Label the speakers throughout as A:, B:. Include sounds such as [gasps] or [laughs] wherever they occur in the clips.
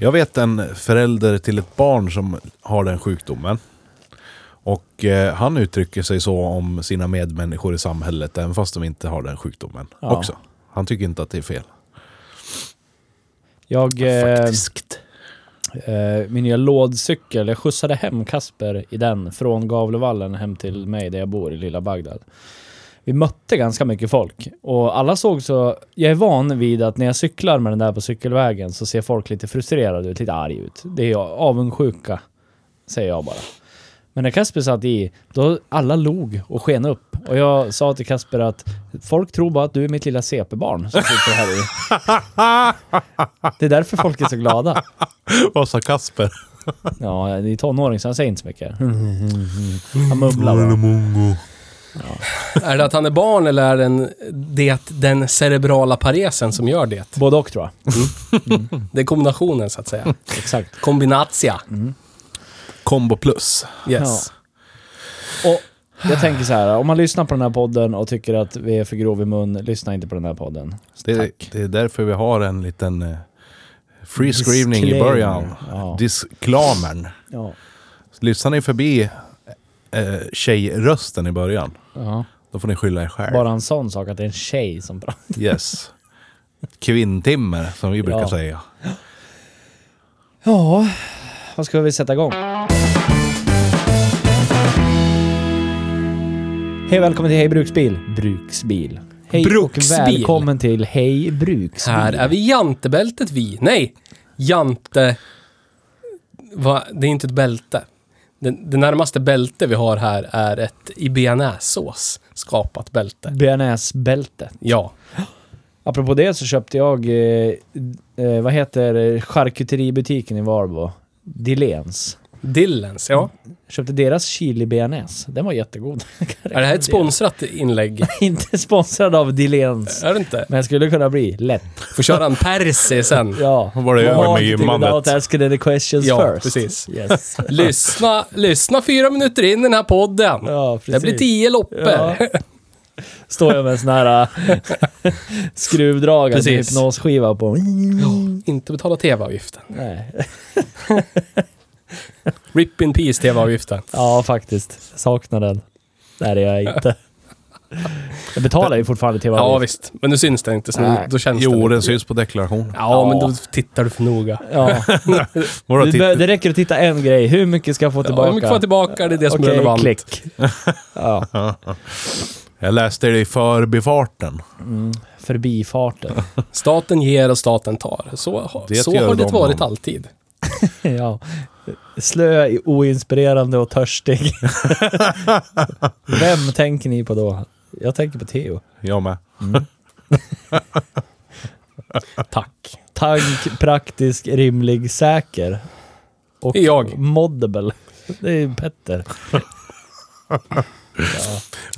A: Jag vet en förälder till ett barn som har den sjukdomen. Och eh, han uttrycker sig så om sina medmänniskor i samhället, även fast de inte har den sjukdomen
B: Ja.
A: också. Han tycker inte att det är fel.
B: Jag, eh, eh, min nya lådcykel, jag skjutsade hem Kasper i den från Gavlevallen hem till mig där jag bor i lilla Bagdad. Vi mötte ganska mycket folk och alla såg så... Jag är van vid att när jag cyklar med den där på cykelvägen så ser folk lite frustrerade ut, lite arg ut. Det är avundsjuka, säger jag bara. Men när Kasper satt i, då alla log och sken upp. Och jag sa till Kasper att folk tror bara att du är mitt lilla CP-barn som sitter här i. Det är därför folk är så glada.
A: [laughs] Vad sa Kasper?
B: Ja, det är tonåring så han säger inte så mycket. Han mumlar bara.
C: Är det att han är barn eller är det, en, det den cerebrala paresen som gör det?
B: Både och tror jag.
C: Det är kombinationen så att säga.
B: Exakt.
C: Kombinatia.
A: Combo plus.
C: Yes.
B: Och jag tänker så här, om man lyssnar på den här podden och tycker att vi är för grov i mun, lyssna inte på den här podden.
A: Det,
B: Tack.
A: det är därför vi har en liten eh, free screening i
B: Disclaimer.
A: början.
B: Ja.
A: Disclaimern.
B: Ja.
A: Lyssnar ni förbi eh, tjejrösten i början,
B: ja.
A: då får ni skylla er själv.
B: Bara en sån sak att det är en tjej som pratar.
A: Yes. Kvinntimmer, som vi brukar
B: Ja.
A: säga.
B: Ja, vad ska vi sätta igång? Hej välkommen till Hej Bruksbil. Bruksbil. Hej
C: Bruksbil.
B: och välkommen till Hej Bruksbil.
C: Här är vi jantebältet vi. Nej! Jante... Va? Det är inte ett bälte. Det, det närmaste bälte vi har här är ett i bearnaisesås skapat bälte.
B: Bearnaisebältet.
C: Ja.
B: Apropå det så köpte jag, eh, eh, vad heter charkuteributiken i Varbo? Dilens.
C: Dillens, ja.
B: Jag köpte deras chili bearnaise. Den var jättegod. [laughs]
C: Är det här ett sponsrat inlägg?
B: Inte sponsrad av Dilens.
C: Är det inte?
B: Men jag skulle kunna bli, lätt.
C: Får köra en persi sen.
B: [laughs] Ja.
A: Vad var det jag gjorde med
B: Marketing
A: gymmandet?
B: without asking any questions
C: Ja,
B: first.
C: precis.
B: Yes.
C: Lyssna, lyssna fyra minuter in i den här podden.
B: Ja, precis.
C: det blir tio loppor.
B: Ja. Står jag med en sån här äh, [laughs] skruvdragare, med
C: Precis.
B: hypnosskiva på. Mm.
C: Inte betala tv-avgiften.
B: Nej.
C: Rip in peace tv-avgiften.
B: Ja, faktiskt. Saknar den. Nej, det gör jag inte. Jag betalar ju fortfarande tv
C: Ja, visst. Men nu syns den inte, så nu,
B: Nej.
C: då känns
A: Jo,
C: den.
A: den syns på deklarationen.
C: Ja, men
B: Ja.
C: då tittar du för noga. [laughs]
B: Ja,
A: Vadå,
B: det,
A: titt-
B: bör- det räcker att titta en grej. Hur mycket ska jag få
C: Ja,
B: tillbaka?
C: hur mycket får jag tillbaka? Det är det som
B: Okej,
C: är relevant. [laughs]
B: klick. Ja,
A: Jag läste det i förbifarten.
B: förbifarten. [laughs]
C: Staten ger och staten tar. Så, ha-
A: Det
C: så
A: gör
C: har det
A: de
C: varit
A: om.
C: alltid.
B: Ja. Slö, oinspirerande och törstig.
C: [laughs]
B: Vem tänker ni på då? Jag tänker på Theo.
A: Jag med.
C: Tack.
B: Tank, praktisk, rimlig, säker. Och
C: Det är jag.
B: moddable. Det är Petter.
C: [laughs]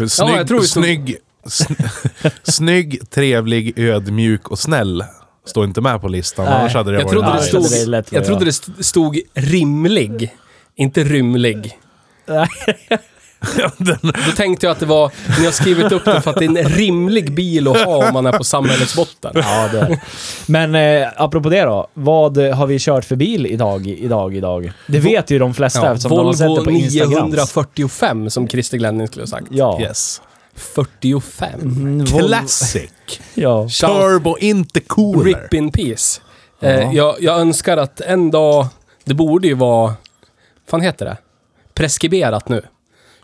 A: Snygg,
C: jag tror vi stod-
A: snygg, sn [laughs] snygg, trevlig, ödmjuk och snäll. Står inte med på listan,
B: Nej,
A: annars hade det
C: Jag
A: varit
C: trodde det,
B: nice.
C: stod,
B: Det är lätt vad
C: jag
B: jag
C: trodde
B: gör.
C: det st- stod rimlig, inte rymlig.
B: Nej.
C: Då tänkte jag att det var, ni har skrivit upp det för att det är en rimlig bil att ha om man är på samhällets botten.
B: Ja, det är det. Men eh, apropå det då. Vad eh, har vi kört för bil idag, idag, idag? Det vet ju de flesta
C: Ja,
B: eftersom de har sett det
C: Volvo
B: på Instagram.
C: 945 som Christer Glenning skulle ha sagt.
B: Ja.
A: Yes.
C: 45.
B: Mm, Volvo-
A: Classic.
B: Ja.
C: Shout-
A: Turbo, inte cooler.
C: Rip in peace. Eh, jag, jag önskar att en dag, det borde ju vara, fan heter det? Preskriberat nu.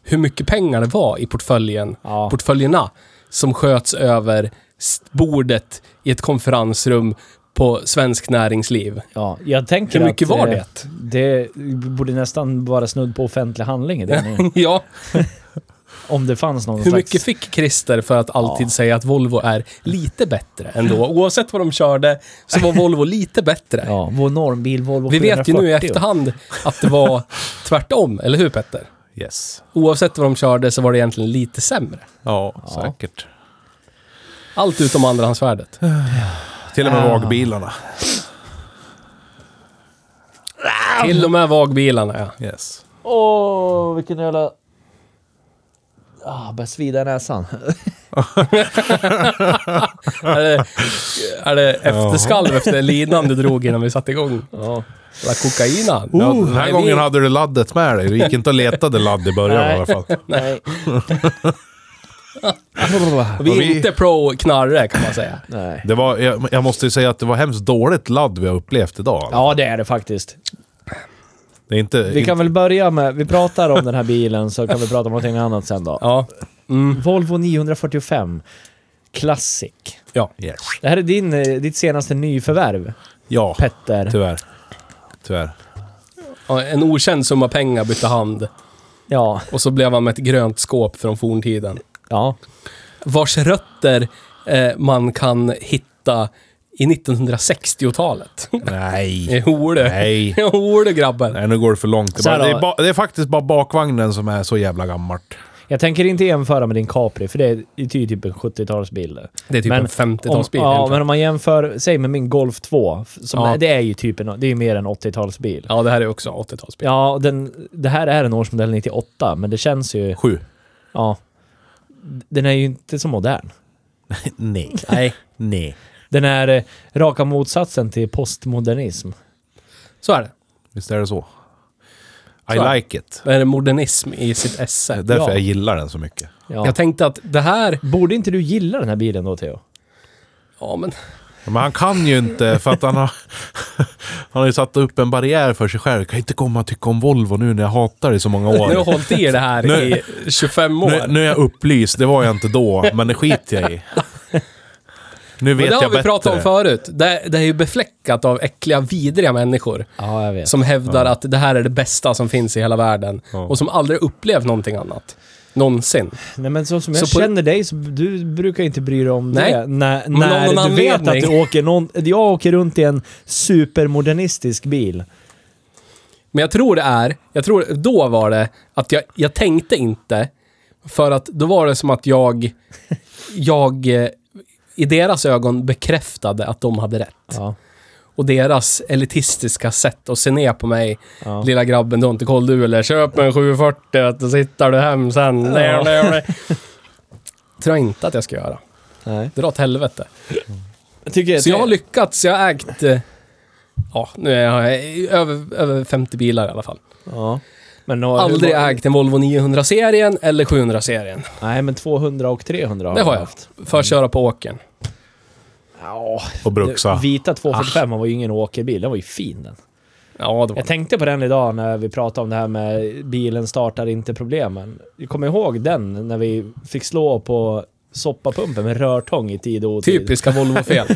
C: Hur mycket pengar det var i portföljen,
B: Ja.
C: portföljerna som sköts över s- bordet i ett konferensrum på Svensk Näringsliv.
B: ja. Jag tänker
C: Hur mycket
B: att,
C: var
B: eh,
C: det?
B: Det borde nästan vara snudd på offentlig handling i det
C: [laughs]
B: meningen.
C: ja,
B: Om det fanns någon
C: hur
B: Mm. slags...
C: mycket fick Christer för att alltid
B: Ja.
C: säga att Volvo är lite bättre
B: [laughs]
C: ändå? Oavsett vad de körde så var Volvo lite bättre.
B: Ja, vår normbil Volvo
C: Vi vet ju nu i
B: 740.
C: efterhand att det
A: [laughs]
C: var tvärtom, eller hur Petter?
A: Yes.
C: Oavsett vad de körde så var det egentligen lite sämre.
A: Ja,
B: Ja.
A: säkert.
C: Allt utom andrahandsvärdet.
A: Till och med
B: Ah.
A: vagbilarna.
C: Till och med vagbilarna, ja.
A: Yes.
B: Åh, vilken jävla... Ah, börjar svida i näsan.
C: Är det, är det efterskalv efter linan du drog innan vi satte igång?
B: Ja.
C: La kokainan?
A: ja, Oh, den här
C: nej,
A: gången
C: vi-
A: hade du laddet med dig. Du gick inte och letade ladd i början i alla fall.
B: Nej.
C: Vi är
A: vi-
C: inte pro-knarre kan man säga.
B: [laughs] Nej.
A: Det var, jag, jag måste ju säga att det var hemskt dåligt ladd vi har upplevt idag.
B: Ja, det är det faktiskt.
A: Det är inte...
B: Vi kan väl börja med, vi pratar om den här bilen så kan vi prata om någonting annat sen då.
C: Ja. Mm.
B: Volvo 945 Classic.
C: ja.
A: Yes.
B: Det här är din, eh, ditt senaste nyförvärv,
A: Ja,
B: Petter.
A: tyvärr. Tyvärr.
C: Ja, En okänd summa pengar bytte hand
B: Ja,
C: och så blev han med ett grönt skåp från forntiden.
B: ja.
C: Vars rötter eh, man kan hitta i 1960-talet.
B: [laughs]
A: Nej.
C: Jo du. [laughs]
A: Nej.
C: Jo du grabben.
A: Nej, nu går det för långt. Det är,
B: Så här
A: bara, det,
B: då.
A: är ba, det är faktiskt bara bakvagnen som är så jävla gammalt.
B: Jag tänker inte jämföra med din Capri, för det är det är ju typ en 70-talsbil. det.
C: Det är typ
B: Men
C: en 50-talsbil.
B: Om, ja, men
C: egentligen.
B: om man jämför, säg med min Golf 2, f- som
C: Ja.
B: är, det är ju typ en, det är ju mer en 80-talsbil.
C: ja, det här är också 80-talsbil.
B: Ja, och den, det här är en årsmodell 98, men det känns ju,
A: Sju.
B: ja. Den är ju inte så modern.
A: Nej.
C: Nej,
A: Nej.
B: Den är eh, raka motsatsen till postmodernism.
C: så är det.
A: Visst är det så? I
C: Så.
A: like it.
C: Det är modernism i sitt esse.
A: Därför
B: Ja.
A: jag gillar den så mycket.
B: Ja.
C: Jag tänkte att det här...
B: Borde inte du gilla den här bilen då, Theo?
C: Ja, men
A: Men han kan ju inte för att han har... [laughs] Han har ju satt upp en barriär för sig själv. Jag kan inte komma och tycka om Volvo nu när jag hatar det i så många
B: [laughs]
C: nu har jag
A: år.
C: hållit i det här i 25 år.
A: Nu, nu är jag upplyst, det var jag inte då, men det skiter jag i. Nu vet
C: men det
A: jag
C: har vi
A: bättre.
C: pratat om förut. Det, det är ju befläckat av äckliga, vidriga människor
B: Ja, jag vet.
C: som hävdar att det här är det bästa som finns i hela världen
A: Ja.
C: och som aldrig upplevt någonting annat. Någonsin.
B: Nej, men så som jag
C: Så på-
B: känner dig, så du brukar inte bry dig om
C: Nej.
B: det. När,
C: Men av
B: när
C: någon
B: du vet att
C: anledning.
B: du åker någon, Jag åker runt i en supermodernistisk bil.
C: Men jag tror det är, jag tror då var det att jag, jag tänkte inte, för att då var det som att jag, jag eh, i deras ögon bekräftade att de hade rätt.
B: Ja.
C: och deras elitistiska sätt att se ner på mig.
B: Ja.
C: Lilla grabben, du har inte koll du eller? Köp en 740 vet du, så hittar du hem sen. Nej, nej, nej. Tror jag inte att jag ska göra.
B: Nej.
C: Dra åt helvete.
B: Jag tycker
C: Så jag har lyckats, jag har ägt... eh, Ja, nu är jag eh, över, över 50 bilar i alla fall.
B: ja. men nå-
C: Aldrig
B: hur-
C: ägt en Volvo 900-serien eller 700-serien.
B: Nej, men 200 och 300 har
C: Det har
B: jag
C: jag haft. För att köra på åkern.
B: Ja,
A: Och bruxa.
B: det- Vita 245 var ju ingen åkerbil, den var ju fin den.
C: Ja, det var
B: Jag tänkte på den idag när vi pratade om det här med bilen startar inte problemen. Jag kommer ihåg den när vi fick slå på soppapumpen med rörtång i tid och otid.
C: typiska [laughs] Volvo-fel.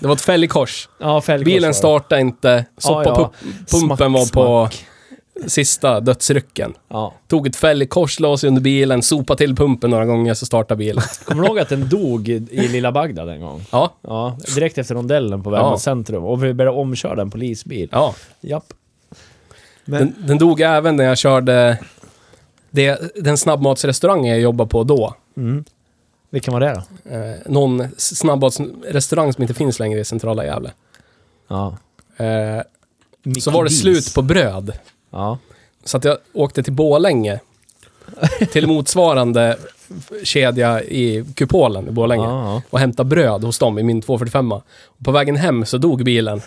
C: Det var ett fälgkors.
B: Ja, fälgkors var
C: Bilen
B: det.
C: startade inte.
B: Ja, ja.
C: Soppapumpen
B: Smack,
C: var på
B: smack.
C: sista dödsrycken.
B: Ja.
C: Tog ett fäll i kors, la sig under bilen, sopa till pumpen några gånger så startade [laughs] bilen.
B: Kommer du ihåg att den dog i
C: [laughs]
B: i Lilla Bagdad en gång?
C: Ja.
B: Ja, direkt efter rondellen på väg
C: Ja.
B: mot centrum. Och vi började omköra den polisbil.
C: ja.
B: Japp.
C: Den, den dog även när jag körde det, den snabbmatsrestaurang jag jobbade på då.
B: Mm. Vilken var det då?
C: Eh, någon s- snabbmatsrestaurang som inte finns längre i centrala Gävle.
B: Ja.
C: Eh,
B: Mickey
C: så var det
B: D's.
C: slut på bröd.
B: Ja.
C: Så att jag åkte till Borlänge. Till motsvarande kedja i kupolen i Borlänge.
B: Ja,
C: och hämta bröd hos dem i min 245. Och på vägen hem så dog bilen,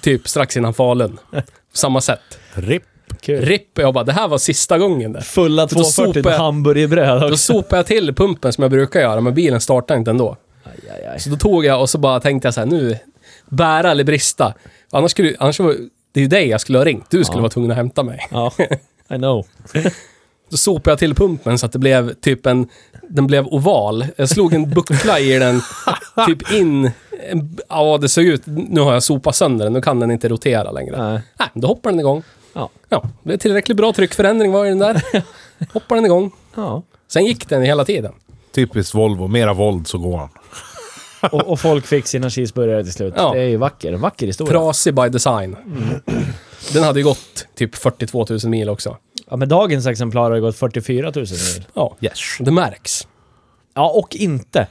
C: typ strax innan Falun. På Samma sätt.
A: Ripp.
B: ja. Kul.
C: Ripp, och jag bara, det här var sista gången det.
B: Fulla
C: För då
B: 240
C: sopade
B: med
C: jag-
B: hamburgerbröd
C: Då
B: också.
C: sopade jag till pumpen som jag brukar göra, men bilen startade inte ändå.
B: Aj, aj, aj.
C: Så då tog jag och så bara tänkte jag så här, nu, bära eller brista. Annars skulle, annars var, det är ju dig jag skulle ha ringt, du skulle
B: Ja.
C: vara tvungen att hämta mig. [laughs]
B: Ja, I know.
C: Då sopade jag till pumpen så att det blev typ en, den blev oval. Jag slog en buckla i den, typ in, en- ja det såg ut, nu har jag sopat sönder den, nu kan den inte rotera längre.
B: Nej.
C: Nej, då hoppar den igång.
B: Ja.
C: Ja, det är tillräckligt bra tryckförändring var i den där. Hoppar den igång.
B: ja.
C: Sen gick den hela tiden.
A: Typiskt Volvo. Mera våld så går han.
B: Och, och folk fick sina cheeseburgare till slut.
C: Ja.
B: Det är ju vacker, vacker historia.
C: Trasig by design. Den hade ju gått typ 42 000 mil också.
B: Ja, men dagens exemplar har ju gått 44 000 mil.
C: Ja, det märks.
B: Ja, och inte.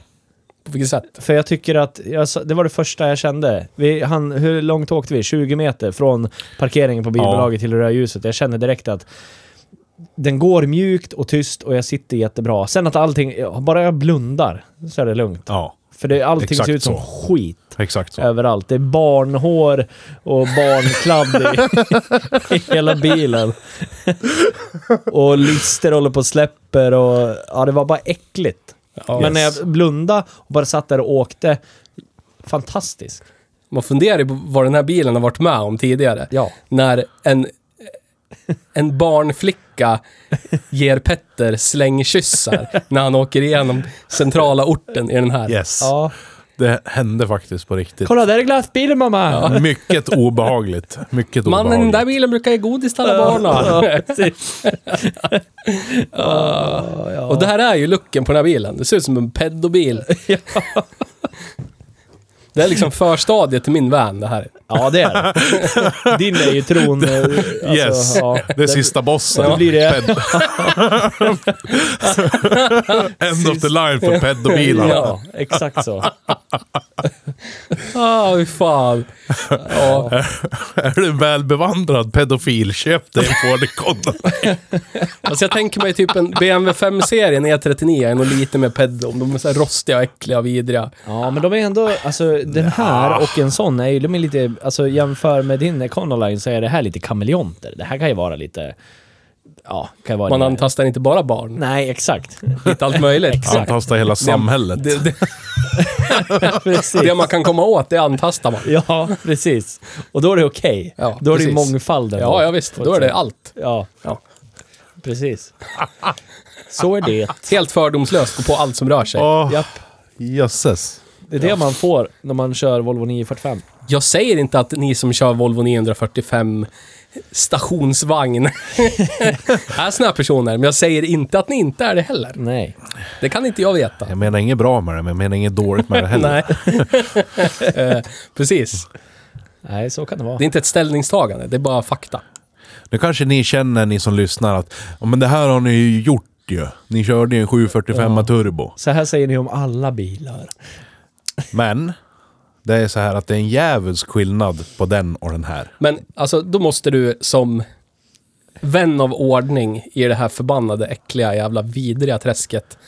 C: På vilket sätt?
B: För jag tycker att, jag, sa- det var det första jag kände. Vi, han, hur långt åkte vi? 20 meter från parkeringen på bilbolaget till rödljuset. Jag kände direkt att den går mjukt och tyst och jag sitter jättebra. Sen att allting, bara jag blundar så är det lugnt.
A: Ja,
B: För det, allting
A: Exakt
B: ser ut som
A: så.
B: skit
A: exakt så.
B: överallt. Det är barnhår och barnkladd i, i hela bilen. Och lister håller på och släpper och... Ja, det var bara äckligt.
C: Ja.
B: Men när jag blundade och bara satt där och åkte, fantastiskt.
C: Man funderar ju på vad den här bilen har varit med om tidigare.
B: Ja.
C: När en, en barnflicka ger Petter slängkyssar när han åker igenom centrala orten i den här.
A: Yes.
B: ja.
A: Det hände faktiskt på riktigt.
B: Kolla, där är glassbilen mamma! Ja.
A: Mycket obehagligt. Mycket
C: Mannen i den
A: obehagligt.
C: där bilen brukar ge godis till alla barnen.
B: Ja, precis.
C: Och det här är ju looken på den här bilen. Det ser ut som en pedobil. Det är liksom förstadiet till min van det här.
B: [laughs] ja, det är det. Din är ju tron... eh,
A: [laughs]
B: Alltså,
A: Yes.
B: ja.
A: Det är sista bossen.
B: Ja, det blir det.
A: Ped- [laughs] End of the line för pedobilarna.
B: Ja, exakt så.
C: Ah, fy fan. Ja.
A: Är du en välbevandrad pedofil, köp dig en Ford Economy.
C: Alltså jag tänker mig typ en BMW 5-serien E39 E är nog lite mer pedo. De är så här rostiga, äckliga och vidriga.
B: Ja, men de är ändå, alltså den här och en sån är ju, de är lite, alltså jämför med din Econoline så är det här lite kameleonter. Det här kan ju vara lite, ja, kan ju vara
C: Man
B: lite-
C: antastar inte bara barn.
B: Nej, exakt.
C: Lite allt möjligt.
B: Exakt.
A: Antastar hela samhället.
C: Det, det,
B: precis.
C: det man kan komma åt, det antastar man.
B: Ja, precis. Och då är det okej.
C: Ja,
B: då är det ju
C: precis.
B: mångfalden.
C: Ja, ja visst. Då är det allt.
B: Ja,
C: Ja.
B: precis. Så är det.
C: Helt fördomslöst, gå på allt som rör sig.
A: Åh,
B: Japp.
A: jösses.
B: Det är det man får när man kör Volvo 945.
C: Jag säger inte att ni som kör Volvo 945 stationsvagn [laughs] är såna här personer, men jag säger inte att ni inte är det heller.
B: Nej.
C: Det kan inte jag veta.
A: Jag menar inget bra med det, men jag menar inget dåligt med det heller.
C: [laughs] Nej. Eh, Precis.
B: Nej, så kan det vara.
C: Det är inte ett ställningstagande, det är bara fakta.
A: Nu kanske ni känner, ni som lyssnar, att "Ja, men det här har ni ju gjort ju. Ni körde ju en 745 turbo.
B: Så här säger ni om alla bilar.
A: Men, det är så här att det är en djävulsk skillnad på den och den här.
C: Men alltså, då måste du som vän av ordning i det här förbannade, äckliga, jävla vidriga träsket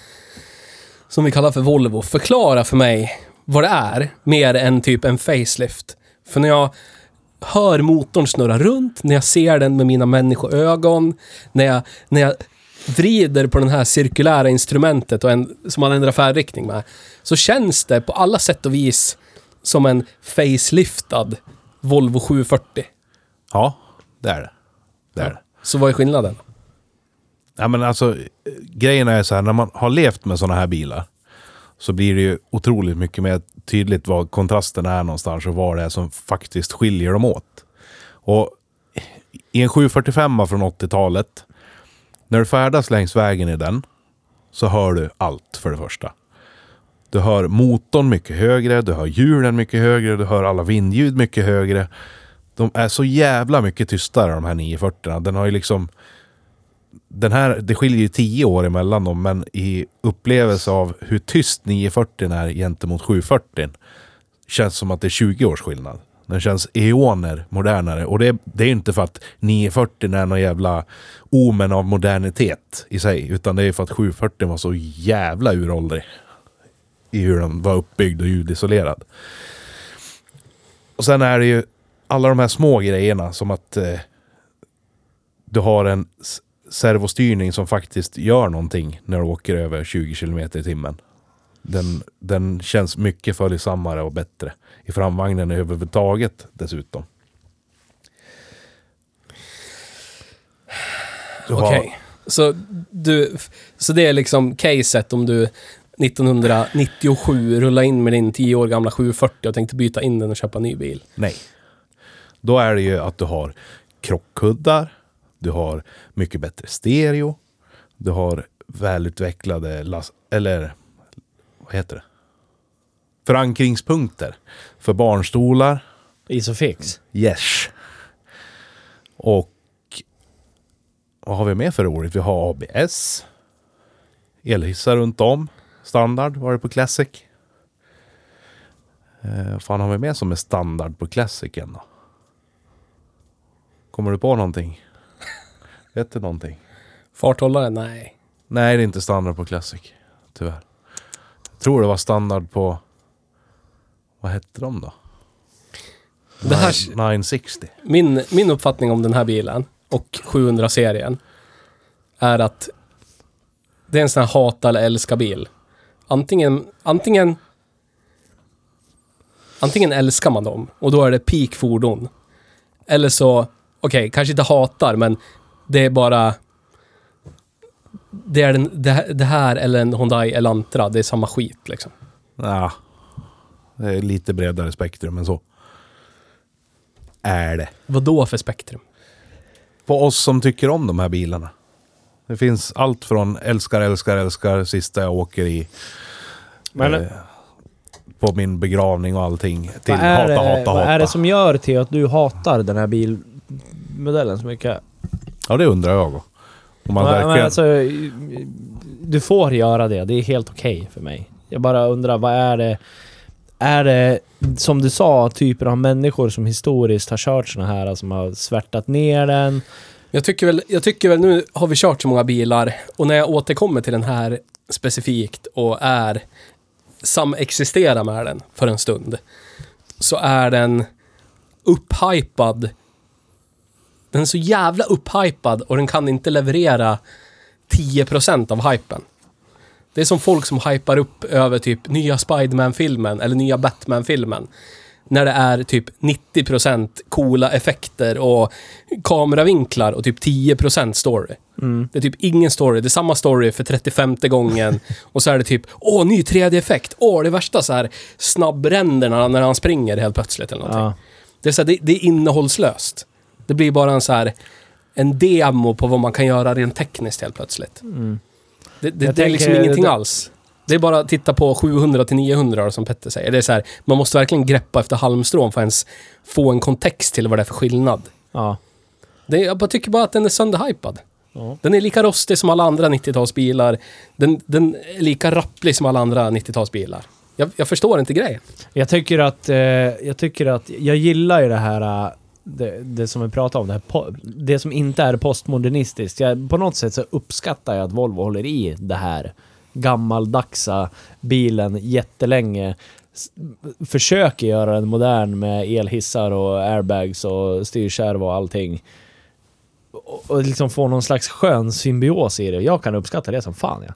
C: som vi kallar för Volvo, förklara för mig vad det är mer än typ en facelift. För när jag hör motorn snurra runt, när jag ser den med mina människoögon, när jag, när jag vrider på det här cirkulära instrumentet och en, som man ändrar färdriktning med, så känns det på alla sätt och vis som en faceliftad Volvo 740.
A: Ja, det är det. Det är det.
C: Så vad är skillnaden?
A: Ja, men alltså, eh, grejen är så här, när man har levt med sådana här bilar så blir det ju otroligt mycket mer tydligt vad kontrasten är någonstans och vad det är som faktiskt skiljer dem åt. Och i en 745 från 80-talet, när du färdas längs vägen i den så hör du allt för det första. Du hör motorn mycket högre, du hör hjulen mycket högre, du hör alla vindljud mycket högre. De är så jävla mycket tystare de här 940 Den har ju liksom den här, det skiljer ju 10 år emellan dem, men i upplevelse av hur tyst 940 är gentemot 740 känns som att det är 20 års skillnad. Den känns eoner modernare och det, det är ju inte för att 940 är någon jävla omen av modernitet i sig, utan det är för att 740 var så jävla uråldrig i hur den var uppbyggd och ljudisolerad. Och sen är det ju alla de här små grejerna som att eh, du har en s- servostyrning som faktiskt gör någonting när du åker över 20 km i timmen. Den, den känns mycket följsammare och bättre i framvagnen överhuvudtaget dessutom. Du har-
C: Okej. Så, du, så det är liksom caset om du 1997 rullade in med din 10 år gamla 740 och tänkte byta in den och köpa en ny bil.
A: Nej. Då är det ju att du har krockkuddar. Du har mycket bättre stereo. Du har välutvecklade las- eller vad heter det? Förankringspunkter för barnstolar.
B: Isofix.
A: Yes. Och vad har vi mer för roligt? Vi har ABS. Elhissar runt om. Standard var det på Classic. Eh, vad fan har vi med som är standard på Classic än då? Kommer du på någonting?
C: [laughs]
A: Vet du någonting?
C: Farthållare? Nej.
A: Nej, det är inte standard på Classic. Tyvärr. Jag tror det var standard på... Vad hette de då?
C: Det här,
A: 960.
C: min, min uppfattning om den här bilen och 700-serien är att det är en sån här hata eller älska bil. Antingen, antingen, antingen älskar man dem och då är det peak fordon. Eller så, okej, kanske inte hatar, men det är bara... Det, är den, det, här- det här eller en Hyundai Elantra, det är samma skit liksom.
A: Ja. Det är lite bredare spektrum än så. Är det.
C: Vad då för spektrum?
A: På oss som tycker om de här bilarna. Det finns allt från älskar, älskar, älskar, sista jag åker i,
B: Men
A: Eh, på min begravning och allting, till
B: vad är,
A: hata,
B: det,
A: hata,
B: vad
A: hata.
B: är det som gör till att du hatar den här bilmodellen så mycket?
A: Ja, det undrar jag. också. Om man
B: Men-
A: verkligen...
B: men alltså, du får göra det, det är helt okej för mig. Jag bara undrar, vad är det... Är det, som du sa, typer av människor som historiskt har kört såna här, som har svärtat ner den?
C: Jag tycker, väl, jag tycker väl, nu har vi kört så många bilar och när jag återkommer till den här specifikt och är samexisterar med den för en stund så är den upphypad. Den är så jävla upphypad och den kan inte leverera 10% av hypen. Det är som folk som hypar upp över typ nya Spiderman-filmen eller nya Batman-filmen. När det är typ 90% coola effekter och kameravinklar och typ 10% story. Det är typ ingen story. Det är samma story för 35 gången. Och så är det typ, åh, ny 3D-effekt. Åh, det värsta så här snabbränderna när han springer helt plötsligt eller någonting.
B: Ja.
C: Det, är så här, det, det är innehållslöst. Det blir bara en så här, en demo på vad man kan göra rent tekniskt helt plötsligt. Det,
B: Mm.
C: det,
B: Jag
C: det är liksom
B: tänker-
C: ingenting
B: det-
C: alls. Det är bara att titta på 700 till 900 som Petter säger. Det är så här, man måste verkligen greppa efter halmstrån för att ens få en kontext till vad det är för skillnad.
B: Ja.
C: Det, är- jag bara tycker bara att den är sönderhypad.
B: Ja.
C: Den är lika rostig som alla andra 90-talsbilar. Den, den är lika rapplig som alla andra 90-talsbilar. Jag, jag förstår inte grejen.
B: Jag tycker att, eh, jag tycker att, jag gillar ju det här, eh, det, det som vi pratar om, det, här, po- det som inte är postmodernistiskt. Jag, på något sätt så uppskattar jag att Volvo håller i det här gammaldagsa bilen jättelänge. S- Försöker göra den modern med elhissar och airbags och styrkärv och allting. Och, och liksom få någon slags skön symbios i det. Jag kan uppskatta det som fan ja.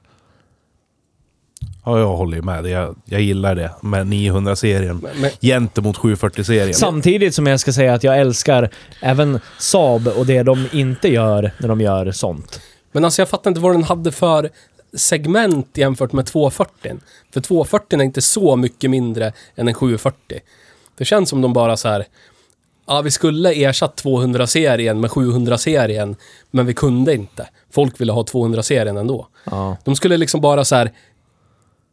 A: Ja, jag håller ju med. Jag, jag gillar det med 900-serien
C: Men, men,
A: gentemot 740-serien.
B: Samtidigt som jag ska säga att jag älskar även Saab och det de inte gör när de gör sånt.
C: men alltså jag fattar inte vad den hade för segment jämfört med 240. För 240 är inte så mycket mindre än en 740. Det känns som de bara så här... Ja, vi skulle ersatt 200-serien med 700-serien, men vi kunde inte. Folk ville ha 200-serien ändå.
B: Ja.
C: De skulle liksom bara så här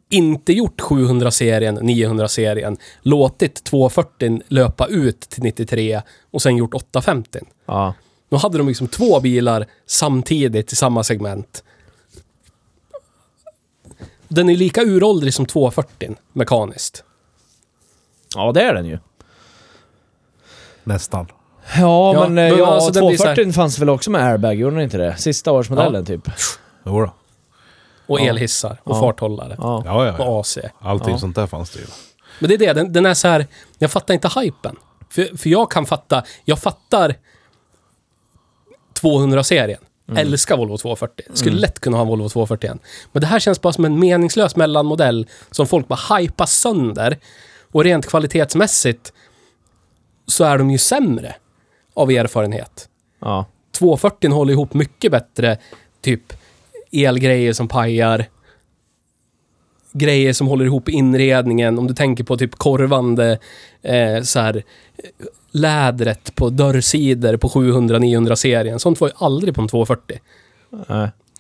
C: inte gjort 700-serien, 900-serien, låtit 240 löpa ut till 93 och sen gjort 850.
B: ja.
C: Nu hade de liksom två bilar samtidigt i samma segment. Den är lika uråldrig som 240 mekaniskt.
B: Ja, det är den ju.
A: Nästan.
B: Ja,
C: Ja,
B: men, eh,
C: men
B: ja,
C: alltså, den blir så här-
B: 240 fanns väl också med airbag, gjorde den inte det? Sista årsmodellen typ.
A: Jo då.
C: Och
B: Ja.
C: elhissar och
B: Ja.
C: farthållare.
B: Ja.
A: Ja, ja, ja.
C: Och AC.
A: Allting
B: Ja.
A: sånt där fanns det ju.
C: Men det är det, den, den är så här, jag fattar inte hypen. För, för jag kan fatta, jag fattar 200-serien. Älskar Volvo 240. Skulle lätt kunna ha en Volvo 240 igen. Men det här känns bara som en meningslös mellanmodell som folk bara hypar sönder. Och rent kvalitetsmässigt så är de ju sämre av erfarenhet.
B: Ja.
C: 240 håller ihop mycket bättre. Typ elgrejer som pajar. Grejer som håller ihop inredningen. Om du tänker på typ korvande eh, så här, eh, lädret på dörrsidor på 700-900-serien. Sånt var ju aldrig på en 240.
B: Nej.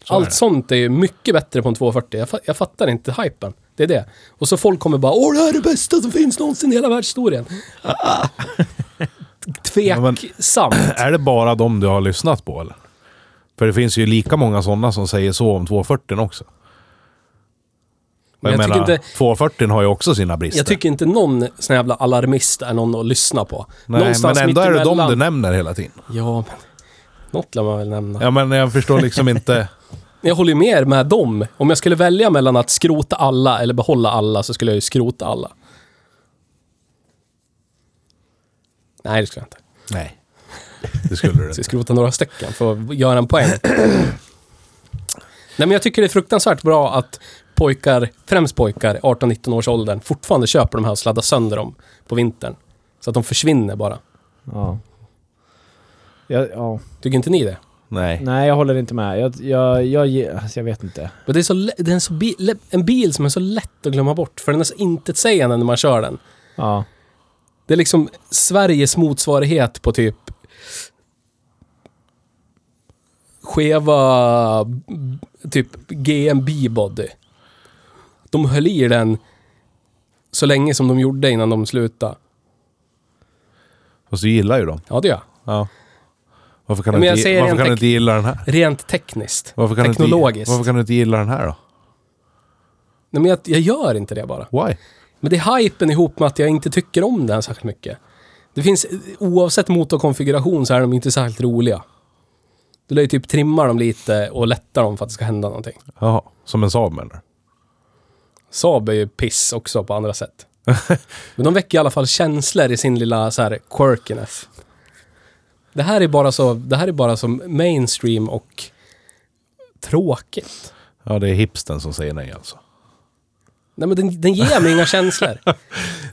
A: Så är
C: Allt
A: det.
C: sånt är ju mycket bättre på en 240. Jag, fa- jag fattar inte hypen. Det är det. Och så folk kommer bara Åh, det här är det bästa som finns någonsin i
A: [laughs]
C: hela världshistorien.
A: Ja, [clears throat] men-
C: Tveksamt.
A: Är det bara de du har lyssnat på eller? För det finns ju lika många sådana som säger så om 240 också.
C: Men
A: Men
C: jag
A: jag,
C: tycker
A: menar,
C: inte-
A: 240 har ju också sina brister.
C: Jag tycker inte någon sån jävla alarmist är någon att lyssna på.
A: Nej, men
C: Någonstans
A: ändå är det de
C: mittemellan-
A: du nämner hela tiden.
C: Ja, men... Något lär man väl nämna.
A: Ja, men jag förstår liksom inte... [laughs]
C: Jag håller ju med er med dem. Om jag skulle välja mellan att skrota alla eller behålla alla så skulle jag ju skrota alla. Nej, det skulle jag inte.
A: Nej. Det skulle du
C: Så jag
A: inte.
C: skrota några stycken för att göra
A: [clears throat]
C: en poäng. Nej, men jag tycker det är fruktansvärt bra att pojkar, främst pojkar, 18-19 års åldern, fortfarande köper de här och sladdar sönder dem på vintern. Så att de försvinner bara.
B: Ja. Jag, ja.
C: Tycker inte ni det?
A: Nej.
B: Nej, jag håller inte med. Jag, jag, jag, ge- alltså, jag vet inte.
C: Men det är, så, lä- det är en, så bi, lä- en bil som är så lätt att glömma bort, för den är så intetsägande när man kör den.
B: Ja.
C: Det är liksom Sveriges motsvarighet på typ skeva b- typ GM B-body. De höll i den så länge som de gjorde innan de slutade.
A: Fast du gillar ju dem.
C: Ja, det gör jag.
A: Ja. Varför kan,
C: Men
A: du,
C: jag
A: inte,
C: säger
A: varför
C: rent
A: kan du
C: tek-
A: inte gilla den här?
C: Rent tekniskt.
A: Varför kan, Du
C: teknologiskt.
A: inte, varför kan du inte gilla den här då?
C: Nej, men jag, jag gör inte det bara.
A: Why?
C: Men det är hypen ihop med att jag inte tycker om den särskilt mycket. Det finns, oavsett motorkonfiguration så är de inte särskilt roliga. Du lär ju typ trimma dem lite och lätta dem för att det ska hända någonting.
A: Jaha, som en Saab menar du?
C: Saab är ju piss också på andra sätt. Men de väcker i alla fall känslor i sin lilla så här quirkiness. Det här är bara så, det här är bara som mainstream och tråkigt.
A: Ja, det är hipsten som säger nej alltså.
C: Nej men den, den ger mig inga känslor.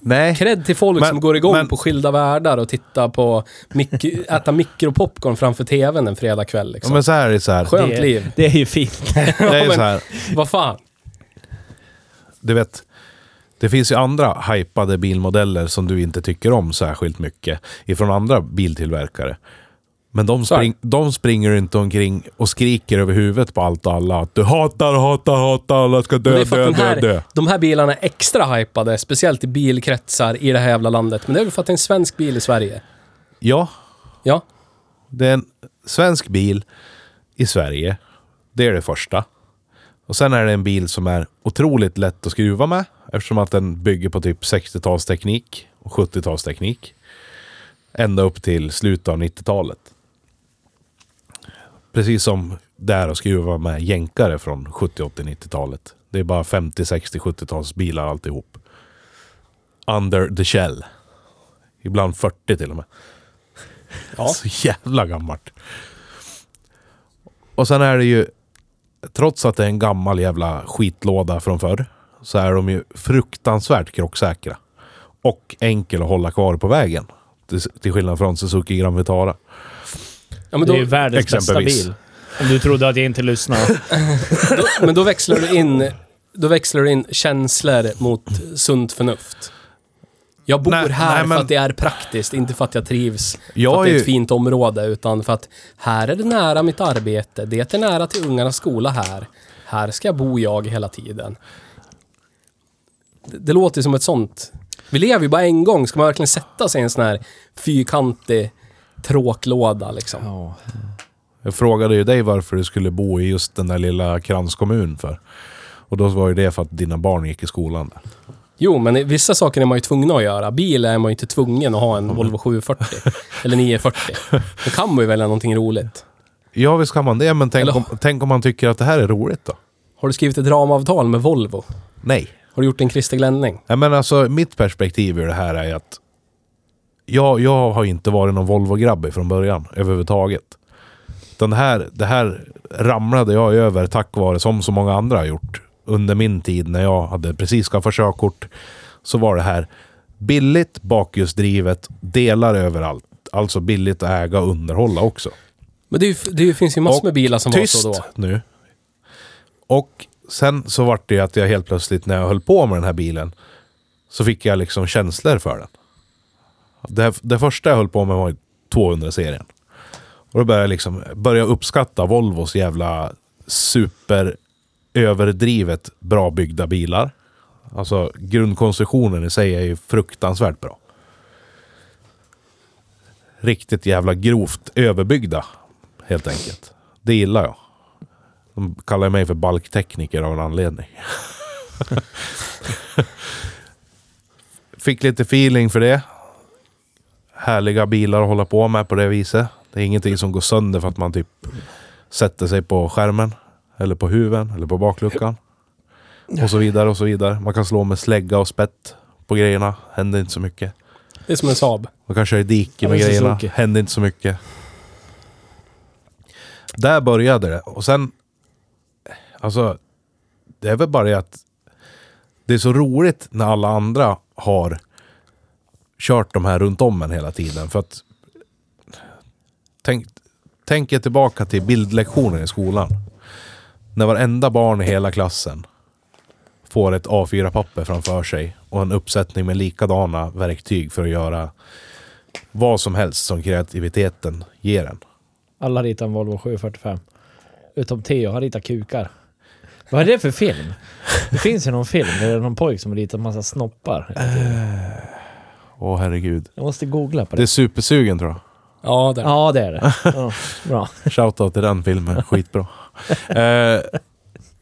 A: Nej.
C: Cred till folk
A: Men-
C: som går igång
A: men-
C: på skilda världar och tittar på, mik
A: [laughs]
C: äta mikropopcorn framför tvn en fredagkväll
A: Ja,
C: liksom.
A: men så här är det så här.
C: Skönt
B: Det-
C: liv.
B: Det är ju fint.
A: Det
C: Ja,
A: är
C: men-
A: så här.
C: Vad fan.
A: Du vet, det finns ju andra hypade bilmodeller som du inte tycker om särskilt mycket ifrån andra biltillverkare. Men de,
C: Så är det.
A: spring, de springer inte omkring och skriker över huvudet på allt och alla att du hatar, hatar, hatar, alla ska
C: Men det
A: dö,
C: är för att
A: dö,
C: den här,
A: dö, dö.
C: De här bilarna är extra hypade, speciellt i bilkretsar i det här jävla landet. Men det är väl för att det är en svensk bil i Sverige.
A: Ja,
C: Ja.
A: det är en svensk bil i Sverige. Det är det första. Och sen är det en bil som är otroligt lätt att skruva med eftersom att den bygger på typ 60-talsteknik och 70-talsteknik. Ända upp till slutet av 90-talet. Precis som där att skruva med jänkare från 70, 80, 90-talet. Det är bara 50, 60, 70-tals bilar alltihop. Under the shell. Ibland 40 till och med.
C: Ja.
A: Så jävla gammalt. Och sen är det ju, trots att det är en gammal jävla skitlåda från förr, så är de ju fruktansvärt krocksäkra. Och enkel att hålla kvar på vägen. Till, till skillnad från Suzuki Gran Vitara.
C: Ja, men,
B: Det är
C: då,
B: ju världens bästa
A: exempelvis.
B: bil. Om du trodde att jag inte lyssnade.
C: då, men då växlar du in då växlar du in känslor mot sunt förnuft. Jag bor
A: Nej,
C: här
A: nej, men-
C: för att det är praktiskt, inte för att jag trivs.
A: Jag
C: för att
A: är
C: det är
A: ju-
C: ett fint område, utan för att här är det nära mitt arbete, det är nära till ungarnas skola här. Här ska jag bo jag hela tiden. Det, det låter ju som ett sånt... Vi lever ju bara en gång, ska man verkligen sätta sig i en sån här fyrkantig tråklåda liksom?
B: Ja.
A: Jag frågade ju dig varför du skulle bo i just den där lilla kranskommun för. Och då var ju det för att dina barn gick i skolan där.
C: Jo, men i- vissa saker är man ju tvungen att göra. Bil är man ju inte tvungen att ha en Volvo 740 [laughs] eller 940. Då kan man ju välja någonting roligt.
A: Ja, visst kan man det, men tänk
C: Eller-
A: om, tänk om man tycker att det här är roligt då?
C: Har du skrivit ett ramavtal med Volvo?
A: Nej.
C: Har du gjort en Christer Glenning?
A: Nej, men alltså mitt perspektiv ur det här är ju att jag, jag har inte varit någon Volvo-grabb från början överhuvudtaget. Utan det här, det här ramlade jag över tack vare, som så många andra har gjort, under min tid när jag hade precis skaffat körkort, så var det här billigt, bakhjulsdrivet, delar överallt. Alltså billigt att äga och underhålla också.
C: Men det, är ju, f- det finns ju massor
A: Och
C: med bilar som
A: Tyst
C: var så då.
A: nu. Och sen så vart det ju att jag helt plötsligt när jag höll på med den här bilen så fick jag liksom känslor för den. Det, det första jag höll på med var ju 200-serien. Och då började jag liksom börja uppskatta Volvos jävla super överdrivet bra byggda bilar. Alltså grundkonstruktionen i sig är ju fruktansvärt bra. Riktigt jävla grovt överbyggda, helt enkelt. Det gillar jag. De kallar mig för balktekniker av en anledning. [laughs] Fick lite feeling för det. Härliga bilar att hålla på med på det viset. Det är ingenting som går sönder för att man typ sätter sig på skärmen. Eller på huven, eller på bakluckan. Och så vidare och så vidare. Man kan slå med slägga och spett på grejerna. Händer inte så mycket.
C: Det är som en Saab.
A: Man kan köra i dike med
B: Ja, det är
A: grejerna.
B: Suzuki.
A: Händer inte så mycket. Där började det. Och sen... Alltså... Det är väl bara det att... Det är så roligt när alla andra har kört de här runt om en hela tiden. För att... Tänk, tänk er tillbaka till bildlektionen i skolan. När varenda barn i hela klassen får ett A4-papper framför sig och en uppsättning med likadana verktyg för att göra vad som helst som kreativiteten ger en.
B: Alla ritar en Volvo 745. Utom Theo, han ritar kukar. Vad är det för film? Det finns ju någon film där det är någon pojk som ritar en massa snoppar.
A: Åh herregud.
B: Jag måste googla på
A: Det är
B: det.
A: supersugen tror jag.
C: Ja, där.
B: Ja, det är det. Ja, bra.
A: [laughs] Shoutout till den filmen, skitbra. Eh,